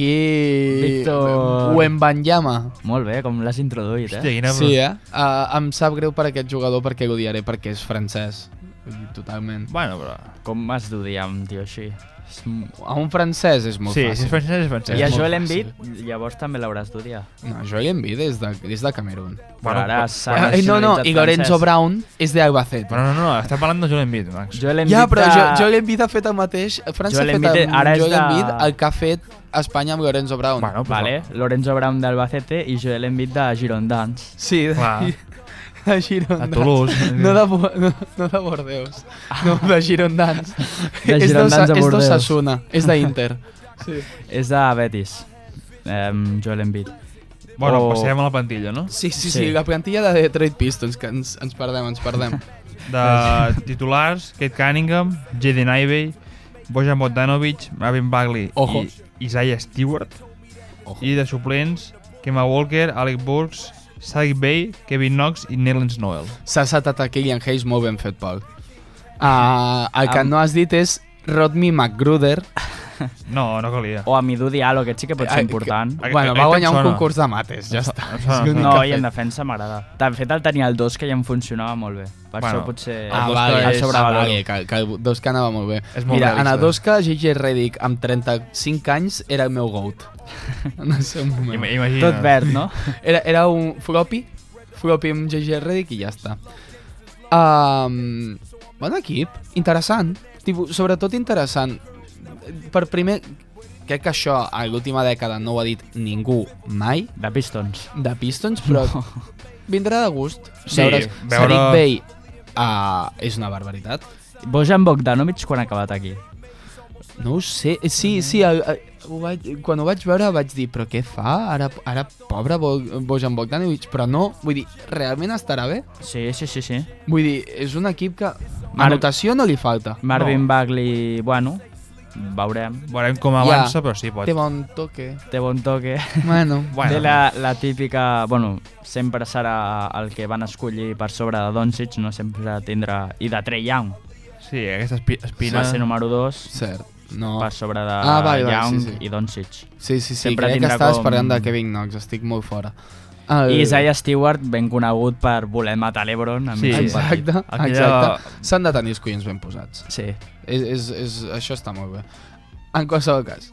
Speaker 2: aconseguir...
Speaker 1: Víctor.
Speaker 2: Wembanyama.
Speaker 1: Molt bé, com l'has introduït, eh?
Speaker 3: Hòstia, quina...
Speaker 2: Sí, eh? Uh, em sap greu per aquest jugador perquè l'odiaré perquè és francès. Vull dir, Totalment.
Speaker 3: Bueno, però...
Speaker 1: Com has d'odiar un tio així? És... m-
Speaker 2: A un francès és molt
Speaker 3: sí, si
Speaker 2: fàcil.
Speaker 3: és francès, és francès.
Speaker 1: I a
Speaker 2: molt
Speaker 1: Joel
Speaker 2: fàcil.
Speaker 1: Embiid, llavors també l'hauràs d'odiar.
Speaker 2: No, Joel Embiid és de, és de Camerún.
Speaker 1: Però ara s'ha
Speaker 3: bueno,
Speaker 2: Eh, no, no,
Speaker 1: nacionalitzat
Speaker 2: i Lorenzo
Speaker 1: francès.
Speaker 2: Brown és de Albacete.
Speaker 3: Però no, no, estem parlant de Joel Embiid, Max.
Speaker 1: Joel Embiid
Speaker 2: Ja, però
Speaker 1: de...
Speaker 2: jo, Joel Embiid ha fet el mateix. França
Speaker 1: Joel
Speaker 2: ha fet
Speaker 1: Embiid
Speaker 2: amb
Speaker 1: ara és
Speaker 2: Joel
Speaker 1: de-
Speaker 2: Embiid el que ha fet Espanya amb Lorenzo Brown.
Speaker 3: Bueno, pues,
Speaker 1: Vale, Lorenzo Brown d'Albacete i Joel Embiid de Girondins.
Speaker 2: Sí, de, *laughs*
Speaker 3: Clar.
Speaker 2: de Girondins.
Speaker 3: A Toulouse.
Speaker 2: No de, Bo- no, no de Bordeus. No, de Girondins.
Speaker 1: De
Speaker 2: és
Speaker 1: Girondins a
Speaker 2: És
Speaker 1: Bordeus.
Speaker 2: d'Osasuna, és d'Inter. Sí.
Speaker 1: És de Betis, um, Joel Embiid.
Speaker 3: Bueno,
Speaker 2: Oh.
Speaker 1: O-
Speaker 3: passem a la plantilla, no?
Speaker 2: Sí, sí, sí,
Speaker 1: Sí.
Speaker 2: la plantilla de Detroit Pistons, que ens, ens perdem, ens
Speaker 3: *laughs*
Speaker 2: perdem.
Speaker 3: De titulars, Kate Cunningham, Jaden Ivey, Bojan Bogdanovic, Marvin Bagley
Speaker 2: Ojo.
Speaker 3: i Isaiah Stewart.
Speaker 2: Ojo.
Speaker 3: I de suplents, Kemba Walker, Alec Burks, Sadiq Bey, Kevin Knox i Nerlens Noel.
Speaker 2: S'ha saltat a Killian Hayes molt ben fet, Pol. Uh, el que
Speaker 1: Am-
Speaker 2: no has dit és Rodney McGruder.
Speaker 3: Ah, No, no calia.
Speaker 1: O
Speaker 2: Oh,
Speaker 1: a Midu Diallo, aquest sí que pot
Speaker 2: Ai,
Speaker 1: ser
Speaker 2: que-
Speaker 1: important.
Speaker 3: Aquest-
Speaker 2: Bueno,
Speaker 3: aquest
Speaker 2: va
Speaker 3: em
Speaker 2: guanyar un
Speaker 3: sona.
Speaker 2: concurs de mates, ja està.
Speaker 3: em sona,
Speaker 2: És l'únic
Speaker 3: em
Speaker 2: que
Speaker 1: No,
Speaker 2: ha
Speaker 1: i
Speaker 2: fet.
Speaker 1: en defensa m'agrada. De fet, el tenia el 2, que ja em funcionava molt bé. Per
Speaker 3: Bueno.
Speaker 1: això potser...
Speaker 2: Ah,
Speaker 3: El
Speaker 2: vale,
Speaker 3: Doska
Speaker 2: ah,
Speaker 3: és-
Speaker 2: sobrevaloro.
Speaker 1: ah, vale,
Speaker 2: que, que el Doska anava molt bé.
Speaker 3: És molt
Speaker 2: Mira, en
Speaker 3: realista.
Speaker 2: el Doska, J.J. Redick, amb 35 anys, era el meu
Speaker 3: *laughs*
Speaker 2: goat. En el seu moment.
Speaker 3: Ima- Imagina.
Speaker 1: Tot verd, no?
Speaker 2: Era, era un floppy, floppy amb J.J. Redick i ja està. Um, bon equip, interessant. Tipo, sobretot interessant. Per primer, crec que això a l'última dècada no ho ha dit ningú mai,
Speaker 1: De Pistons.
Speaker 2: de Pistons, però no. vindrà de gust.
Speaker 3: Sí,
Speaker 2: Veure's-
Speaker 3: veure-
Speaker 2: Sadiq Bey uh, és una barbaritat.
Speaker 1: Bojan Bogdanovic quan ha acabat aquí.
Speaker 2: No ho sé,
Speaker 3: Mm.
Speaker 2: sí, sí, el, el, ho vaig, quan ho vaig veure vaig dir, però què fa? Ara, ara pobre Bo, Bojan Bogdanovic, però no, vull dir, realment estarà bé?
Speaker 1: Sí, sí, sí, sí.
Speaker 2: Vull dir, és un equip que...
Speaker 1: Mar-
Speaker 2: Anotació no li falta.
Speaker 1: Marvin Bagley, bueno, veurem.
Speaker 3: Veurem com avança, però sí, pot.
Speaker 2: Té bon toque.
Speaker 1: Té bon toque.
Speaker 2: Bueno,
Speaker 1: Bueno. Té
Speaker 3: Bueno,
Speaker 1: la, la típica... Bueno, sempre serà el que van escollir per sobre de Doncic, no sempre tindrà... I de Trey Young.
Speaker 3: sí, aquesta espi espina...
Speaker 1: Va ser número 2
Speaker 2: cert. No.
Speaker 1: per sobre de
Speaker 2: Ah, vale, vale,
Speaker 1: Young
Speaker 2: sí, Ah, sí.
Speaker 1: i Doncic.
Speaker 2: Sí, sí, sí,
Speaker 1: sempre
Speaker 2: crec que
Speaker 1: tindrà
Speaker 2: estaves
Speaker 1: com-
Speaker 2: parlant de Kevin Knox, estic molt fora. El...
Speaker 1: I Isaiah Stewart, ben conegut per voler matar l'Ebron.
Speaker 3: Sí,
Speaker 1: sí,
Speaker 2: Exacte,
Speaker 3: Aquella-
Speaker 2: exacte. S'han de tenir els collons ben posats.
Speaker 1: Sí.
Speaker 2: És, és, és, això està molt bé. En qualsevol cas,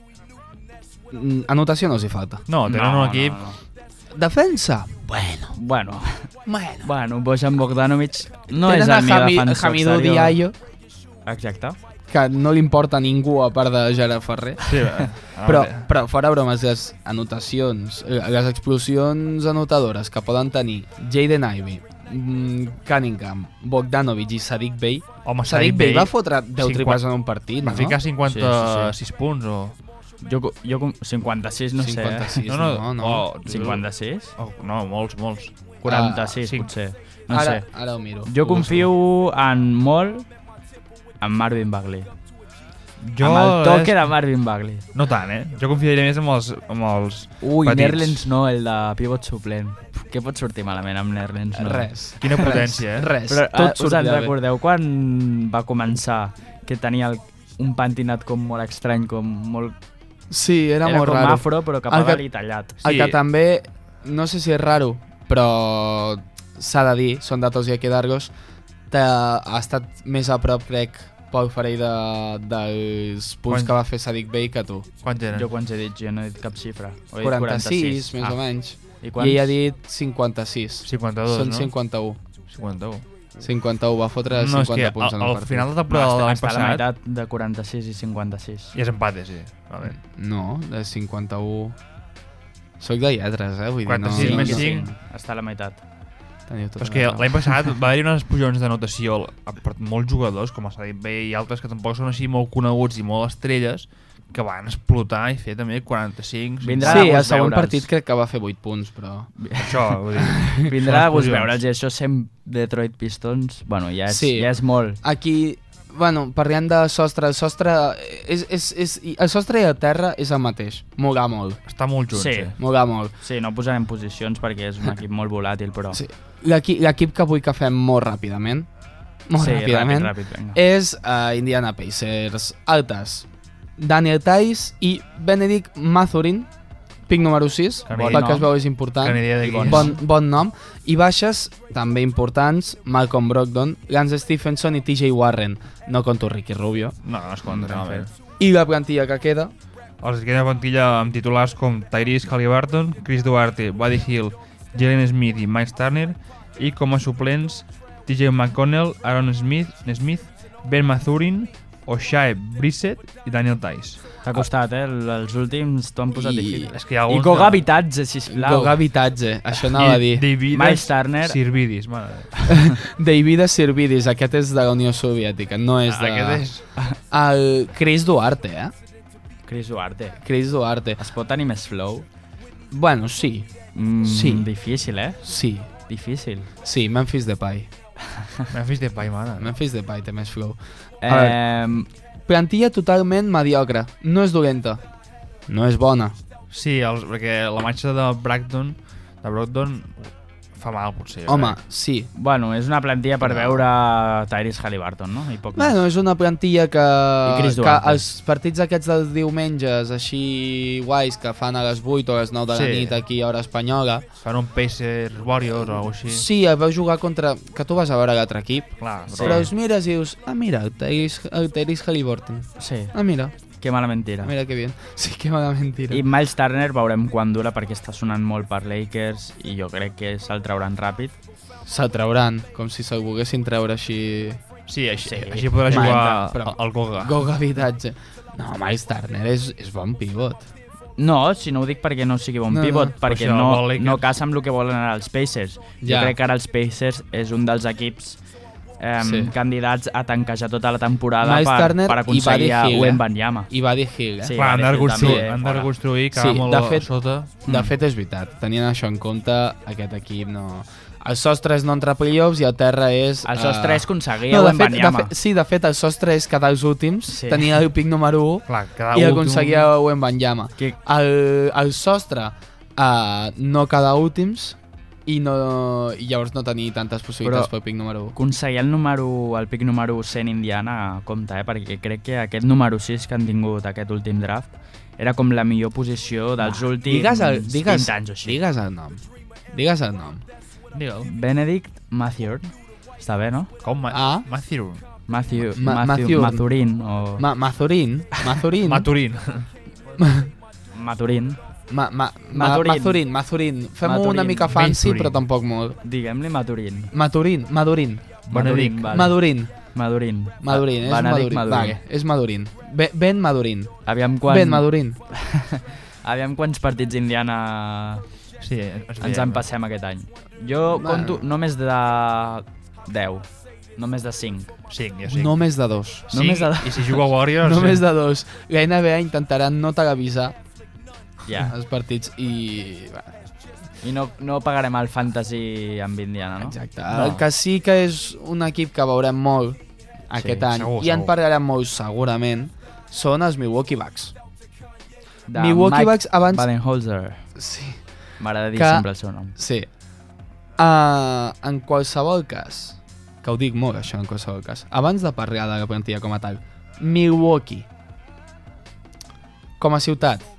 Speaker 2: mm, anotació no els hi falta.
Speaker 3: No, tenen un equip...
Speaker 1: No, no.
Speaker 2: Defensa? Bueno,
Speaker 1: Bueno,
Speaker 2: bueno.
Speaker 1: bueno, Bojan Bogdanovic no
Speaker 2: Tenen
Speaker 1: és
Speaker 2: a
Speaker 1: el meu
Speaker 2: Hami-
Speaker 1: defensor
Speaker 2: Hamidou
Speaker 1: exterior.
Speaker 2: Diallo,
Speaker 1: Exacte.
Speaker 2: que no li importa a ningú a part de Gerard Ferrer. *laughs*
Speaker 3: Sí, eh,
Speaker 2: Però,
Speaker 3: ara-
Speaker 2: però fora bromes, les anotacions, eh, les explosions anotadores que poden tenir Jaden Ivey, mm, Cunningham, Bogdanovic i Sadik Bey.
Speaker 3: Home,
Speaker 2: Sadik Bey va fotre 10
Speaker 3: cinquanta-
Speaker 2: triples en un partit,
Speaker 3: Va
Speaker 2: no?
Speaker 3: ficar 56
Speaker 1: Sí,
Speaker 3: punts o...
Speaker 1: Jo, co- jo com- 56, no 56. sé.
Speaker 2: 56, no, no. no,
Speaker 3: o-
Speaker 1: eh? 56?
Speaker 3: Oh, no, molts, molts.
Speaker 1: 46,
Speaker 3: cinc.
Speaker 1: potser. No
Speaker 2: Ah, ara,
Speaker 1: sé.
Speaker 2: ara ho miro.
Speaker 1: Jo confio en molt en Marvin Bagley.
Speaker 3: Jo
Speaker 1: amb el toque
Speaker 3: és-
Speaker 1: de Marvin Bagley.
Speaker 3: No tant, eh? Jo confiaria més amb els... Amb els...
Speaker 1: Ui,
Speaker 3: Petits.
Speaker 1: Nerlens no, el de pivot suplent. Què pot sortir malament amb Nerlens no?
Speaker 2: Res.
Speaker 3: Quina potència, eh?
Speaker 2: Res.
Speaker 1: Però
Speaker 2: Tot
Speaker 1: Tot us en
Speaker 2: sortirà bé.
Speaker 1: recordeu quan va començar que tenia el, un pentinat com molt estrany, com molt...
Speaker 2: Sí, era,
Speaker 1: era
Speaker 2: molt
Speaker 1: com
Speaker 2: raro.
Speaker 1: afro, però cap
Speaker 2: El
Speaker 1: a
Speaker 2: que-
Speaker 1: dalt i tallat.
Speaker 2: El
Speaker 3: Sí.
Speaker 2: que també, no sé si és raro, però s'ha de dir, són datos i aquí d'Argos, que ha estat més a prop, crec, Pau Farell de, dels punts
Speaker 3: Quan-
Speaker 2: que va fer Sadik Bey que tu.
Speaker 3: Quants eren?
Speaker 1: Jo quants he dit? Jo no he dit cap xifra. Ho he dit
Speaker 2: 46, 46, més
Speaker 3: Ah.
Speaker 2: o menys.
Speaker 1: I
Speaker 2: Quants?
Speaker 1: quants?
Speaker 2: I ell ha dit 56.
Speaker 3: 52,
Speaker 2: Són
Speaker 3: no?
Speaker 2: 51.
Speaker 3: 51.
Speaker 2: 51, va fotre
Speaker 3: no,
Speaker 2: 50
Speaker 3: és que
Speaker 2: punts
Speaker 3: al,
Speaker 2: en un
Speaker 3: al
Speaker 2: partit.
Speaker 3: final de
Speaker 1: No,
Speaker 3: temporada de
Speaker 1: està,
Speaker 3: l'any
Speaker 1: està a la
Speaker 3: passat
Speaker 1: meitat de 46 i 56.
Speaker 3: i és empate, sí. Vale.
Speaker 2: No, de 51... Soc de lletres, eh? Vull dir, no,
Speaker 3: 46
Speaker 2: no,
Speaker 3: més
Speaker 2: no,
Speaker 3: cinc.
Speaker 1: Està a la meitat.
Speaker 2: *laughs* Teniu tota
Speaker 3: Però és que
Speaker 2: la raó.
Speaker 3: l'any passat va haver-hi unes pujons de notació per molts jugadors, com el Sadit Bey i altres que tampoc són així molt coneguts i molt estrelles, que van explotar i fer també 45...
Speaker 1: Vindrà de
Speaker 2: Sí,
Speaker 1: gust
Speaker 2: el segon
Speaker 1: veure'ls.
Speaker 2: partit crec que va fer 8 punts, però...
Speaker 3: Això, vull dir...
Speaker 1: Vindrà a gust
Speaker 3: Explosions.
Speaker 1: veure'ls i això sent Detroit Pistons, bueno, ja és,
Speaker 2: Sí.
Speaker 1: ja és molt.
Speaker 2: Aquí, bueno, parlem de sostre, el sostre... eh, És, és, és, i- el sostre i el terra és el mateix, molar molt,
Speaker 3: Està molt junts,
Speaker 1: Sí.
Speaker 3: sí. eh?
Speaker 2: molar molt.
Speaker 1: Sí, no posarem posicions perquè és un equip molt volàtil,
Speaker 3: Ah.
Speaker 1: però...
Speaker 2: Sí. L'equi- L'equip que vull que fem molt ràpidament, molt
Speaker 1: sí
Speaker 2: ràpidament,
Speaker 1: ràpid, ràpid, vinga.
Speaker 2: és uh, Indiana Pacers altes. Daniel Tice i Benedict Mathurin, pic número 6,
Speaker 3: Que ni
Speaker 2: pel que
Speaker 1: nom.
Speaker 2: es veu és important.
Speaker 3: Que ni idea de qui és.
Speaker 2: Bon, bon nom. I baixes, també importants, Malcolm Brogdon, Lance Stephenson i TJ Warren. No conto Ricky Rubio.
Speaker 3: No, no es compta, no, a veure.
Speaker 2: I la plantilla que queda,
Speaker 3: Els que queda plantilla amb titulars com Tyrese Halliburton, Chris Duarte, Buddy Hill, Jalen Smith i Mike Turner i com a suplents TJ McConnell, Aaron Smith, Smith Ben Mathurin, Oshae Brissett i Daniel Tice.
Speaker 1: T'ha costat, eh? l- Els últims t'ho han posat
Speaker 2: I-
Speaker 1: difícil.
Speaker 3: És que hi
Speaker 1: I
Speaker 3: ha alguns
Speaker 1: Goga
Speaker 3: de-
Speaker 1: Habitatge, sisplau.
Speaker 2: Goga Habitatge, això anava a dir.
Speaker 3: Davides
Speaker 1: Miles Turner.
Speaker 3: Sirvidis, mare. de Déu.
Speaker 2: David Sirvidis, aquest és de la Unió Soviètica, no és de...
Speaker 3: Ah, Aquest és...
Speaker 2: El Chris Duarte, eh?
Speaker 1: Chris Duarte.
Speaker 2: Chris Duarte.
Speaker 1: Es pot tenir més flow?
Speaker 2: Bueno, sí,
Speaker 1: Mm,
Speaker 2: Sí.
Speaker 1: Difícil, eh?
Speaker 2: sí,
Speaker 1: Difícil.
Speaker 2: sí, Memphis Depay.
Speaker 3: Memphis Depay, mare.
Speaker 2: Memphis Depay té més flow. A
Speaker 1: Eh,
Speaker 2: Plantilla totalment mediocre, no és dolenta, no és bona.
Speaker 3: Sí, els, perquè la marxa de Bragdon, de Brogdon, fa mal, potser. eh? jo
Speaker 2: Home,
Speaker 3: crec.
Speaker 2: sí.
Speaker 1: bueno, és una plantilla per
Speaker 3: No.
Speaker 1: veure Tyrese Halliburton, no? I poc més.
Speaker 2: Bueno, és una plantilla que,
Speaker 1: I Chris
Speaker 2: que
Speaker 1: Duarte.
Speaker 2: els partits aquests dels diumenges així guais que fan a les 8 o a les 9 de la
Speaker 3: Sí.
Speaker 2: nit aquí a hora espanyola
Speaker 3: Fan un Pacers Warriors o alguna cosa així.
Speaker 2: Sí, el veu jugar contra... que tu vas a veure l'altre equip.
Speaker 3: Clar,
Speaker 1: Sí.
Speaker 2: Però els mires i dius, ah mira, el Tyrese el Tyrese Halliburton.
Speaker 1: Sí,
Speaker 2: Ah mira,
Speaker 1: que mala mentira.
Speaker 2: mira que bien. *laughs* Sí, que mala mentira.
Speaker 1: I Miles Turner veurem quan dura perquè està sonant molt per Lakers i jo crec que se'l trauran ràpid.
Speaker 2: Se'l trauran, com si se'l volguessin treure així...
Speaker 3: Sí, així,
Speaker 1: Sí.
Speaker 3: sí. així podrà
Speaker 2: Bueno,
Speaker 3: jugar
Speaker 2: però-
Speaker 3: al- al Goga.
Speaker 2: Go habitatge. No, Miles Turner és, és bon pivot.
Speaker 1: No, si no ho dic perquè no sigui bon
Speaker 2: No,
Speaker 1: no,
Speaker 2: no.
Speaker 1: pivot, perquè
Speaker 3: Però això
Speaker 1: no,
Speaker 3: vol Lakers.
Speaker 1: no caça amb el que volen ara els Pacers. Ja. Jo
Speaker 2: Ja.
Speaker 1: crec que ara els Pacers és un dels equips eh, sí.
Speaker 2: Sí.
Speaker 1: candidats a tanquejar tota la temporada
Speaker 2: Miles
Speaker 1: per,
Speaker 2: Turner
Speaker 1: per
Speaker 2: i
Speaker 1: aconseguir
Speaker 2: Buddy
Speaker 1: a
Speaker 2: Hield, eh?
Speaker 1: Wen Banyama.
Speaker 2: I va dir Hill, eh?
Speaker 1: Sí,
Speaker 3: Clar, han de
Speaker 1: Gareth Hill
Speaker 3: reconstruir,
Speaker 1: també,
Speaker 3: han de
Speaker 1: fora.
Speaker 3: reconstruir, quedar
Speaker 2: Sí,
Speaker 3: molt
Speaker 2: de
Speaker 3: de
Speaker 2: fet-
Speaker 3: fet, sota.
Speaker 2: De
Speaker 1: Mm.
Speaker 2: fet, és veritat. Tenint això en compte, aquest equip no... El sostre és no entrar a playoffs i el terra és... eh,
Speaker 1: El sostre és aconseguir
Speaker 2: No,
Speaker 1: a
Speaker 2: de
Speaker 1: Wen
Speaker 2: fet, de
Speaker 1: Banyama.
Speaker 2: fet, sí, de fet, el sostre és quedar els últims,
Speaker 1: Sí.
Speaker 2: sí. tenir el pic número 1
Speaker 3: Clar,
Speaker 1: Ah,
Speaker 3: quedar
Speaker 2: i
Speaker 3: últim.
Speaker 2: aconseguir a Wembanyama.
Speaker 1: Que-
Speaker 2: El, el sostre uh, no quedar últims i, no, i llavors no tenir tantes possibilitats
Speaker 1: Però-
Speaker 2: Però... pel pic número 1.
Speaker 1: Aconseguir el número, el pic número 100 Indiana, compte, eh? perquè crec que aquest número 6 que han tingut aquest últim draft era com la millor posició dels últims
Speaker 2: Digues el, digues,
Speaker 1: 20 anys o així.
Speaker 2: digues el nom. Digues el nom.
Speaker 3: Digue'l.
Speaker 1: Benedict Mathieu. Està bé, no?
Speaker 3: Com? Ma
Speaker 2: Ah.
Speaker 3: Mathieu.
Speaker 1: Matthew, Matthew,
Speaker 2: Ma- Mathieu.
Speaker 1: Mathurin o ma *laughs*
Speaker 2: Ma Mazurin? Mazurin?
Speaker 3: Maturín.
Speaker 1: Mathurin.
Speaker 2: Ma, ma, ma,
Speaker 1: Maturin.
Speaker 2: Mazurin, Mazurin. Fem-ho
Speaker 1: Maturin.
Speaker 2: una mica fancy,
Speaker 3: Maturin.
Speaker 2: però tampoc molt.
Speaker 1: Diguem-li Mathurin.
Speaker 2: Maturin, Madurin.
Speaker 3: Benedict.
Speaker 1: Madurin,
Speaker 2: Vale.
Speaker 1: vale.
Speaker 2: Madurin,
Speaker 1: Madurin.
Speaker 2: Madurin, és
Speaker 1: Benedict
Speaker 2: Madurin. Vale, és Madurin. Be ben Madurin.
Speaker 1: Aviam, quan,
Speaker 2: Quan... Ben Madurin.
Speaker 1: aviam quants partits Indiana
Speaker 3: *laughs* Sí, eh, ens,
Speaker 1: ens en passem aquest any. Jo
Speaker 2: Bueno.
Speaker 1: compto només de 10. Només de 5.
Speaker 3: 5, jo 5.
Speaker 2: Només de dos.
Speaker 1: només de-
Speaker 3: eh, I si juga
Speaker 2: *laughs*
Speaker 3: Warriors... eh,
Speaker 2: Només de dos. La NBA intentarà no televisar
Speaker 1: Ja.
Speaker 2: els partits i... Bueno,
Speaker 1: I no, no pagarem el fantasy amb Indiana, no?
Speaker 2: exacte.
Speaker 1: No.
Speaker 2: No. El que sí que és un equip que veurem molt aquest any
Speaker 3: segur,
Speaker 2: i en
Speaker 3: segur.
Speaker 2: parlarem molt segurament són els Milwaukee Bucks.
Speaker 1: De
Speaker 2: Milwaukee Bucks abans-
Speaker 1: Badenholzer.
Speaker 2: Sí.
Speaker 1: M'agrada dir
Speaker 2: Que-
Speaker 1: sempre el seu nom.
Speaker 2: Sí. Uh, en qualsevol cas, que ho dic molt això en qualsevol cas, abans de parlar de la plantilla com a tal, Milwaukee, com a ciutat,